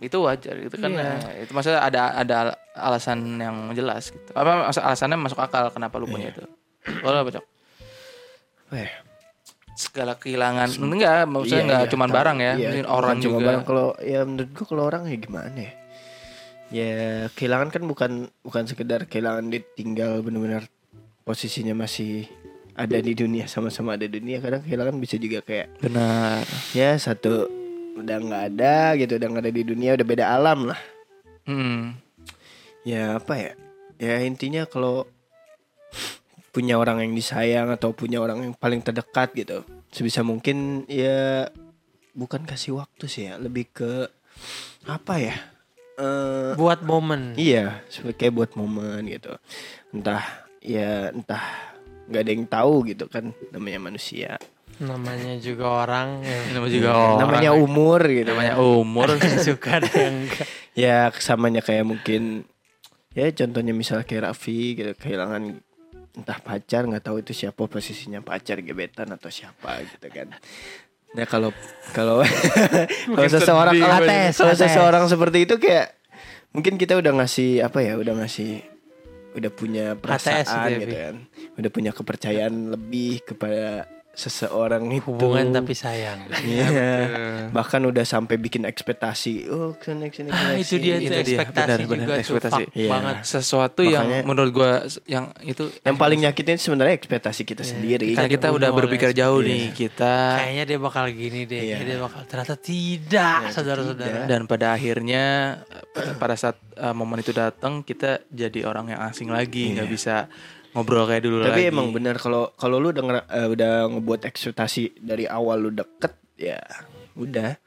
Speaker 2: itu wajar gitu kan
Speaker 1: Iya.
Speaker 2: eh, itu maksudnya ada ada al- alasan yang jelas gitu apa maksud- alasannya masuk akal kenapa lu
Speaker 1: Iya.
Speaker 2: punya itu kalau apa cok
Speaker 3: Eh,
Speaker 2: segala kehilangan enggak maksudnya
Speaker 3: iya,
Speaker 2: enggak
Speaker 3: iya,
Speaker 2: cuman
Speaker 3: tahu.
Speaker 2: barang ya
Speaker 3: Iya,
Speaker 2: mungkin
Speaker 3: bukan
Speaker 2: orang
Speaker 3: cuma
Speaker 2: juga
Speaker 3: barang. kalau ya menurut gua kalau orang ya gimana ya? Ya kehilangan kan bukan bukan sekedar kehilangan ditinggal benar-benar posisinya masih ada di dunia sama-sama ada di dunia kadang kehilangan bisa juga kayak
Speaker 2: benar
Speaker 3: ya satu udah nggak ada gitu udah nggak ada di dunia udah beda alam lah
Speaker 2: hmm.
Speaker 3: ya apa ya ya intinya kalau punya orang yang disayang atau punya orang yang paling terdekat gitu sebisa mungkin ya bukan kasih waktu sih ya lebih ke apa ya eh
Speaker 1: Buat momen.
Speaker 3: iya sebagai buat momen gitu entah ya entah nggak ada yang tahu gitu kan namanya manusia
Speaker 1: Namanya juga orang yang
Speaker 2: namanya juga orang
Speaker 3: namanya umur gitu
Speaker 2: namanya umur
Speaker 1: suka ada yang enggak.
Speaker 3: ya kesamanya kayak mungkin ya contohnya misal kayak Raffi gitu kehilangan entah pacar nggak tahu itu siapa posisinya pacar gebetan atau siapa gitu kan nah kalau kalau kalau seseorang
Speaker 2: sedih,
Speaker 3: kalau-
Speaker 1: Ates,
Speaker 3: kalau
Speaker 1: Ates.
Speaker 3: seseorang seperti itu kayak mungkin kita udah ngasih apa ya udah ngasih udah punya perasaan
Speaker 1: gitu ya,
Speaker 3: gitu
Speaker 1: Fi.
Speaker 3: kan udah punya kepercayaan lebih kepada seseorang itu
Speaker 1: Hubungan tapi sayang.
Speaker 3: Iya. bahkan udah sampai bikin ekspektasi oh kesini kesini
Speaker 1: Ah,
Speaker 3: kesini,
Speaker 1: itu dia
Speaker 3: kesini.
Speaker 1: tuh
Speaker 2: dia.
Speaker 1: ekspektasi
Speaker 2: Benar, benar,
Speaker 1: juga tuh.
Speaker 2: ekspektasi.
Speaker 1: Fuck
Speaker 3: Iya.
Speaker 1: banget.
Speaker 2: sesuatu
Speaker 3: Makanya-
Speaker 2: yang menurut gua s- yang itu
Speaker 3: yang paling nyakitin sebenarnya ekspektasi kita sendiri kan?
Speaker 2: karena kita
Speaker 1: dibunuh
Speaker 2: udah
Speaker 1: oleh
Speaker 2: berpikir jauh
Speaker 3: iya.
Speaker 2: nih kita
Speaker 1: Kayaknya dia bakal gini deh.
Speaker 3: Iya.
Speaker 1: Kayaknya dia bakal ternyata tidak,
Speaker 3: Ternyata
Speaker 1: saudara-saudara.
Speaker 3: tidak.
Speaker 2: dan pada akhirnya eh, pada saat eh, momen itu datang kita jadi orang yang asing lagi nggak bisa ngobrol kayak dulu
Speaker 3: Iya. Tapi
Speaker 2: lagi
Speaker 3: emang benar kalau kalau lu udah ngera- eh, udah ngebuat ekspektasi dari awal lu deket ya udah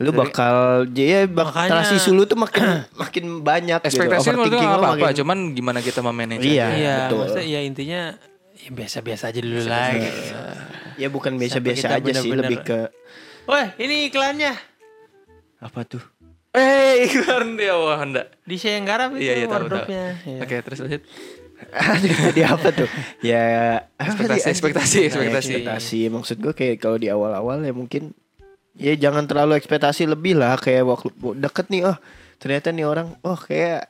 Speaker 3: lu bakal ya bak
Speaker 1: Makanya-
Speaker 3: terasi sulu tuh makin makin banyak gitu.
Speaker 2: ekspektasi menurut gua
Speaker 3: Overthinking
Speaker 2: nggak
Speaker 3: lu
Speaker 2: apa-apa
Speaker 3: makin-
Speaker 2: cuman gimana kita memanage
Speaker 3: Iya.
Speaker 2: aja.
Speaker 1: Iya,
Speaker 3: betul.
Speaker 1: maksudnya ya intinya ya biasa-biasa aja dulu
Speaker 3: Iya.
Speaker 1: lah. gitu.
Speaker 3: ya bukan biasa-biasa
Speaker 1: kita
Speaker 3: aja sih
Speaker 1: bener-bener-
Speaker 3: lebih ke
Speaker 1: Wah, ini iklannya
Speaker 3: apa tuh
Speaker 2: eh iklan dia wah Honda
Speaker 1: di Sianggarap itu
Speaker 2: iya iya tahu tahu
Speaker 1: wardrobe-nya. Iya.
Speaker 2: oke terus lanjut
Speaker 3: Aduh, tadi apa tuh ya apa
Speaker 2: Ekspektasi,
Speaker 3: tadi?
Speaker 2: ekspektasi,
Speaker 3: Nah,
Speaker 2: Iya, ekspektasi.
Speaker 3: ekspektasi maksud gue kayak kalau di awal-awal ya mungkin ya jangan terlalu ekspektasi lebih lah kayak waktu deket nih oh ternyata nih orang wah kayak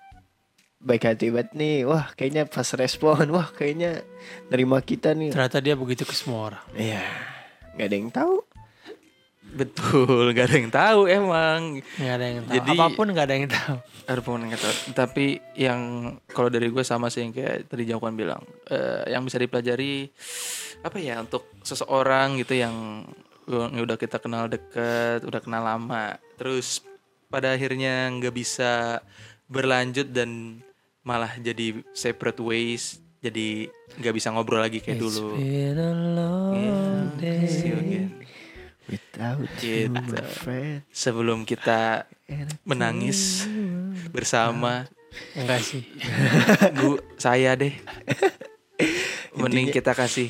Speaker 3: baik hati banget nih wah kayaknya pas respon wah kayaknya nerima kita nih
Speaker 1: Ternyata dia begitu ke semua orang.
Speaker 3: Iya nggak ada yang tahu
Speaker 2: betul gak ada yang tahu emang
Speaker 1: Nggak ada yang tahu.
Speaker 2: Jadi-
Speaker 1: Apapun nggak ada yang tahu.
Speaker 2: Ada pemain yang kata, tapi yang kalau dari gue sama sih yang kayak tadi Jangkuan bilang, Eh, yang bisa dipelajari apa ya untuk seseorang gitu yang yang udah kita kenal deket, udah kenal lama, terus pada akhirnya nggak bisa berlanjut dan malah jadi separate ways, jadi nggak bisa ngobrol lagi
Speaker 3: ya
Speaker 2: kayak dulu. Iya,
Speaker 1: It's been a long
Speaker 3: Hmm,
Speaker 1: day.
Speaker 2: Yeah, see you
Speaker 3: ya.
Speaker 2: again.
Speaker 3: without
Speaker 2: Gitu.
Speaker 3: you my friend
Speaker 2: Sebelum kita menangis bersama.
Speaker 1: Enggak sih.
Speaker 2: Gu saya deh. Mending kita kasih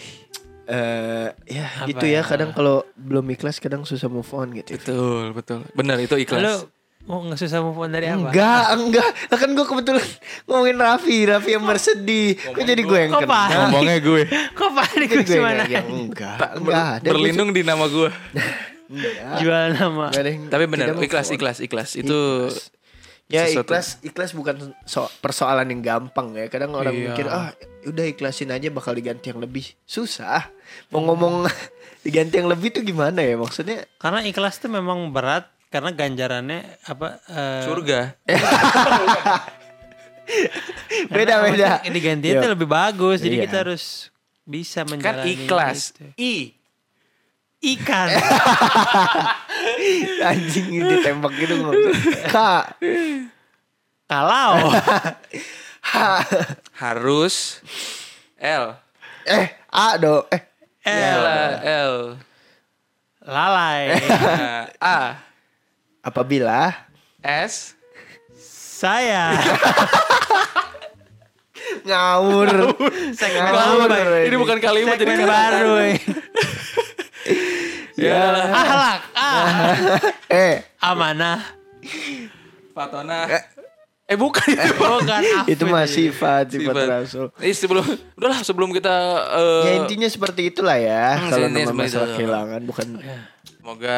Speaker 3: Eh, ya
Speaker 1: Apa
Speaker 3: gitu
Speaker 1: ya?
Speaker 3: ya kadang kalau belum ikhlas kadang susah move on gitu
Speaker 2: betul betul. Benar itu
Speaker 1: Lu
Speaker 2: ikhlas.
Speaker 1: mau nggak susah move on dari apa?
Speaker 3: Enggak, enggak. Lah kan gue kebetulan ngomongin Raffi, Raffi yang bersedih. Kok jadi gue yang
Speaker 1: Kok
Speaker 3: kena?
Speaker 1: Pak?
Speaker 2: Ngomongnya gue.
Speaker 1: Kok panik
Speaker 3: Kan
Speaker 1: lu
Speaker 3: gue
Speaker 1: gimana?
Speaker 3: yang, yang enggak. Enggak ada.
Speaker 2: Berlindung di nama gue.
Speaker 3: Enggak.
Speaker 1: Jual nama.
Speaker 3: Enggak ada yang
Speaker 2: Tapi benar
Speaker 3: tidak
Speaker 2: ikhlas
Speaker 3: move on.
Speaker 2: ikhlas ikhlas itu
Speaker 3: Ya
Speaker 2: sesuatu.
Speaker 3: ikhlas ikhlas bukan so- persoalan yang gampang ya. Kadang orang
Speaker 2: Iya.
Speaker 3: mikir ah udah ikhlasin aja bakal diganti yang lebih. Susah. Mau ngomong diganti yang lebih tuh gimana ya maksudnya?
Speaker 1: Karena ikhlas tuh memang berat karena ganjarannya apa eh,
Speaker 2: surga.
Speaker 3: Beda beda.
Speaker 1: maksudnya digantiin tuh
Speaker 3: Yo.
Speaker 1: lebih bagus. Jadi
Speaker 3: Iya.
Speaker 1: kita harus bisa
Speaker 2: Kan
Speaker 1: menjalani
Speaker 2: ikhlas.
Speaker 1: itu.
Speaker 2: I.
Speaker 1: Ikan.
Speaker 3: Anjing ditembak gitu ngomong. Kak.
Speaker 1: Kalau
Speaker 2: Harus L.
Speaker 3: Eh, A do. Eh,
Speaker 2: L. L.
Speaker 1: lalai
Speaker 2: Nah, A.
Speaker 3: apabila
Speaker 2: S.
Speaker 1: saya
Speaker 3: ngawur.
Speaker 1: segmen
Speaker 3: Ngawur.
Speaker 1: baru.
Speaker 2: Ini bukan kalimat jadi
Speaker 1: Segmen
Speaker 2: kata.
Speaker 1: baru. eh.
Speaker 2: Ya.
Speaker 1: Ahlak. Ah.
Speaker 3: Eh,
Speaker 1: Amanah.
Speaker 2: Fatona. Eh bukan itu.
Speaker 1: Bukan
Speaker 3: itu
Speaker 1: afid.
Speaker 3: mah sifat sifat
Speaker 2: Sifat.
Speaker 3: rasul.
Speaker 2: Eh sebelum udahlah sebelum kita eh,
Speaker 3: Ya intinya seperti itulah ya.
Speaker 2: Hmm,
Speaker 3: Kalau
Speaker 2: intinya
Speaker 3: nama
Speaker 2: seperti
Speaker 3: masalah
Speaker 2: itu.
Speaker 3: kehilangan bukan
Speaker 2: Semoga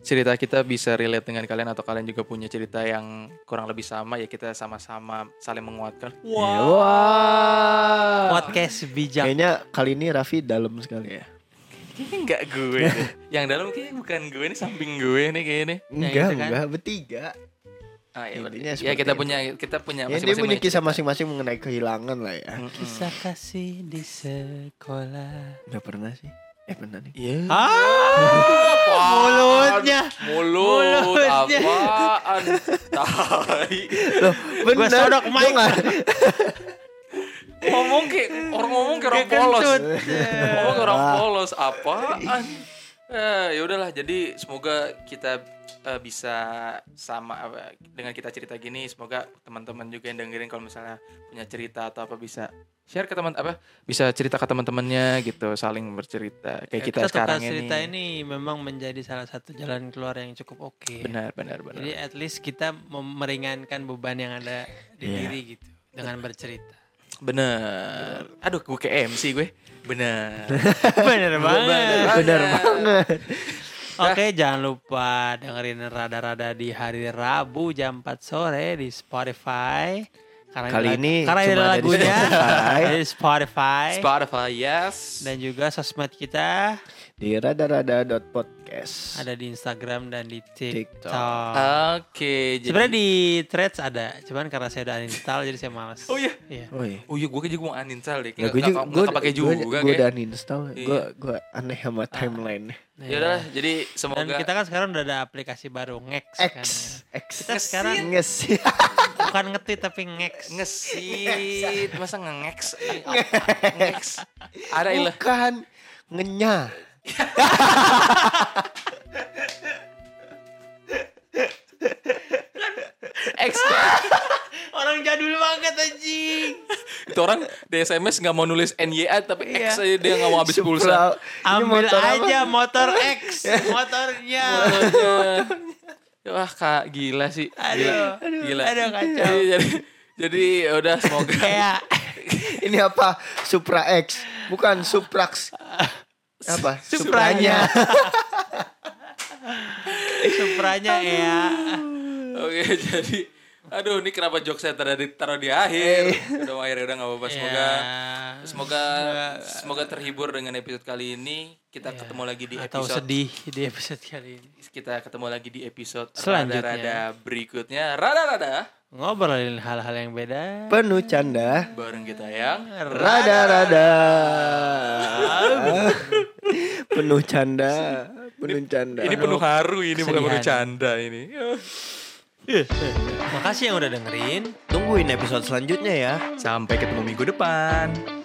Speaker 2: cerita kita bisa relate dengan kalian atau kalian juga punya cerita yang kurang lebih sama ya kita sama-sama saling menguatkan.
Speaker 3: Ya, Wah.
Speaker 1: Podcast bijak.
Speaker 3: Kayaknya kali ini Raffi dalam sekali ya.
Speaker 2: Kayaknya enggak gue. deh. yang dalam kayaknya bukan gue ini samping gue nih kayaknya. nih.
Speaker 3: Enggak,
Speaker 1: itu kan.
Speaker 3: enggak, bertiga.
Speaker 2: Ah, ya, berarti-
Speaker 3: Intinya
Speaker 2: ya
Speaker 3: seperti
Speaker 2: kita
Speaker 3: itu.
Speaker 2: punya kita punya
Speaker 3: Ya, dia punya
Speaker 2: cerita.
Speaker 3: kisah masing-masing mengenai kehilangan lah ya.
Speaker 1: Kisah kasih di sekolah.
Speaker 3: Enggak pernah sih. Eh pernah nih.
Speaker 2: Iya.
Speaker 1: Ah, mulutnya.
Speaker 2: Mulut,
Speaker 1: Mulutnya.
Speaker 2: apaan? Tai.
Speaker 3: Loh,
Speaker 1: Gua sodok
Speaker 3: Lu
Speaker 1: mic.
Speaker 3: nggak-
Speaker 2: Ngomong kayak orang ngomong kayak orang
Speaker 1: Kayak
Speaker 2: polos.
Speaker 1: kentut.
Speaker 2: Ngomong kayak Oh, orang polos apaan? Eh, ya udahlah. Jadi semoga kita eh, bisa sama apa, dengan kita cerita gini. Semoga teman-teman juga yang dengerin kalau misalnya punya cerita atau apa bisa share ke teman apa bisa cerita ke teman-temannya gitu saling bercerita
Speaker 1: Ya,
Speaker 2: kayak kita,
Speaker 1: tukar
Speaker 2: sekarang
Speaker 1: cerita
Speaker 2: ini.
Speaker 1: ini memang menjadi salah satu jalan keluar yang cukup oke.
Speaker 2: benar benar benar
Speaker 1: Jadi at least kita mem- meringankan beban yang ada di
Speaker 3: Iya.
Speaker 1: diri gitu dengan bercerita.
Speaker 2: Bener. Aduh, gue ke MC gue. Bener.
Speaker 1: Bener banget.
Speaker 3: Bener banget.
Speaker 1: Oke, jangan lupa dengerin rada-rada di hari Rabu jam 4 sore di Spotify. Karena
Speaker 3: Kali
Speaker 1: lagu-
Speaker 3: ini
Speaker 1: karena ini
Speaker 3: cuma ada di
Speaker 1: lagunya
Speaker 3: Spotify.
Speaker 1: di Spotify
Speaker 2: Spotify, yes.
Speaker 1: dan juga sosmed kita
Speaker 3: Di radarada.podcast.
Speaker 1: ada di Instagram dan di TikTok.
Speaker 3: TikTok.
Speaker 1: Uh,
Speaker 2: Oke, jadi.
Speaker 1: Sebenarnya di Threads ada, cuman karena saya udah uninstall jadi saya malas.
Speaker 2: Oh iya.
Speaker 1: Iya.
Speaker 3: Oh iya.
Speaker 2: Oh iya, gue kayaknya gue mau uninstall deh.
Speaker 3: Ya,
Speaker 2: Nggak,
Speaker 3: gue
Speaker 2: nggak,
Speaker 3: juga,
Speaker 2: Iya, nggak
Speaker 3: gue
Speaker 2: kepake
Speaker 3: gue-
Speaker 2: juga,
Speaker 3: gue
Speaker 2: kayak.
Speaker 3: udah uninstall.
Speaker 2: Iya.
Speaker 3: Gue gue aneh sama timeline.
Speaker 2: Ya udahlah, jadi semoga
Speaker 1: Iya. Dan kita kan sekarang udah ada aplikasi baru Ngex kan. ya.
Speaker 3: X X.
Speaker 1: Kita sekarang
Speaker 3: Nges.
Speaker 1: bukan ngetit tapi Ngex.
Speaker 2: ngesit, masa nge-ngex? Ngex. Ada ilah.
Speaker 3: Bukan ngenya.
Speaker 2: X.
Speaker 1: Orang jadul banget anjing.
Speaker 2: Itu orang di SMS nggak mau nulis NYA tapi
Speaker 1: Iya.
Speaker 2: X aja dia nggak mau habis pulsa.
Speaker 3: Supra- Ini
Speaker 1: Ambil
Speaker 3: motor apa?
Speaker 1: aja motor X motornya.
Speaker 2: Aduh. Wah kak gila sih Gila
Speaker 1: Aduh,
Speaker 2: gila.
Speaker 1: aduh, kacau.
Speaker 2: Jadi, jadi, jadi ya udah semoga
Speaker 1: Kayak
Speaker 3: Ini apa? Supra X. Bukan Suprax. Apa?
Speaker 1: Supranya. Supranya ya.
Speaker 2: Oke jadi Aduh ini kenapa jokes saya tadi taruh di akhir
Speaker 1: Iya.
Speaker 2: Udah mau akhir udah gak apa-apa Semoga
Speaker 1: Ya.
Speaker 2: Semoga Semoga terhibur dengan episode kali ini Kita ketemu lagi di
Speaker 1: Iya. atau
Speaker 2: episode
Speaker 1: sedih di episode kali ini.
Speaker 2: Kita ketemu lagi di episode
Speaker 1: Selanjutnya.
Speaker 2: Rada-rada berikutnya Rada-rada
Speaker 1: Ngobrolin hal-hal yang beda.
Speaker 3: Penuh canda.
Speaker 2: Bareng kita yang
Speaker 3: Rada-rada. penuh canda. Penuh canda.
Speaker 2: Ini penuh haru ini bukan penuh
Speaker 1: Kesedihan.
Speaker 2: canda ini
Speaker 1: Makasih yang udah dengerin.
Speaker 3: Tungguin episode selanjutnya ya.
Speaker 2: Sampai ketemu minggu depan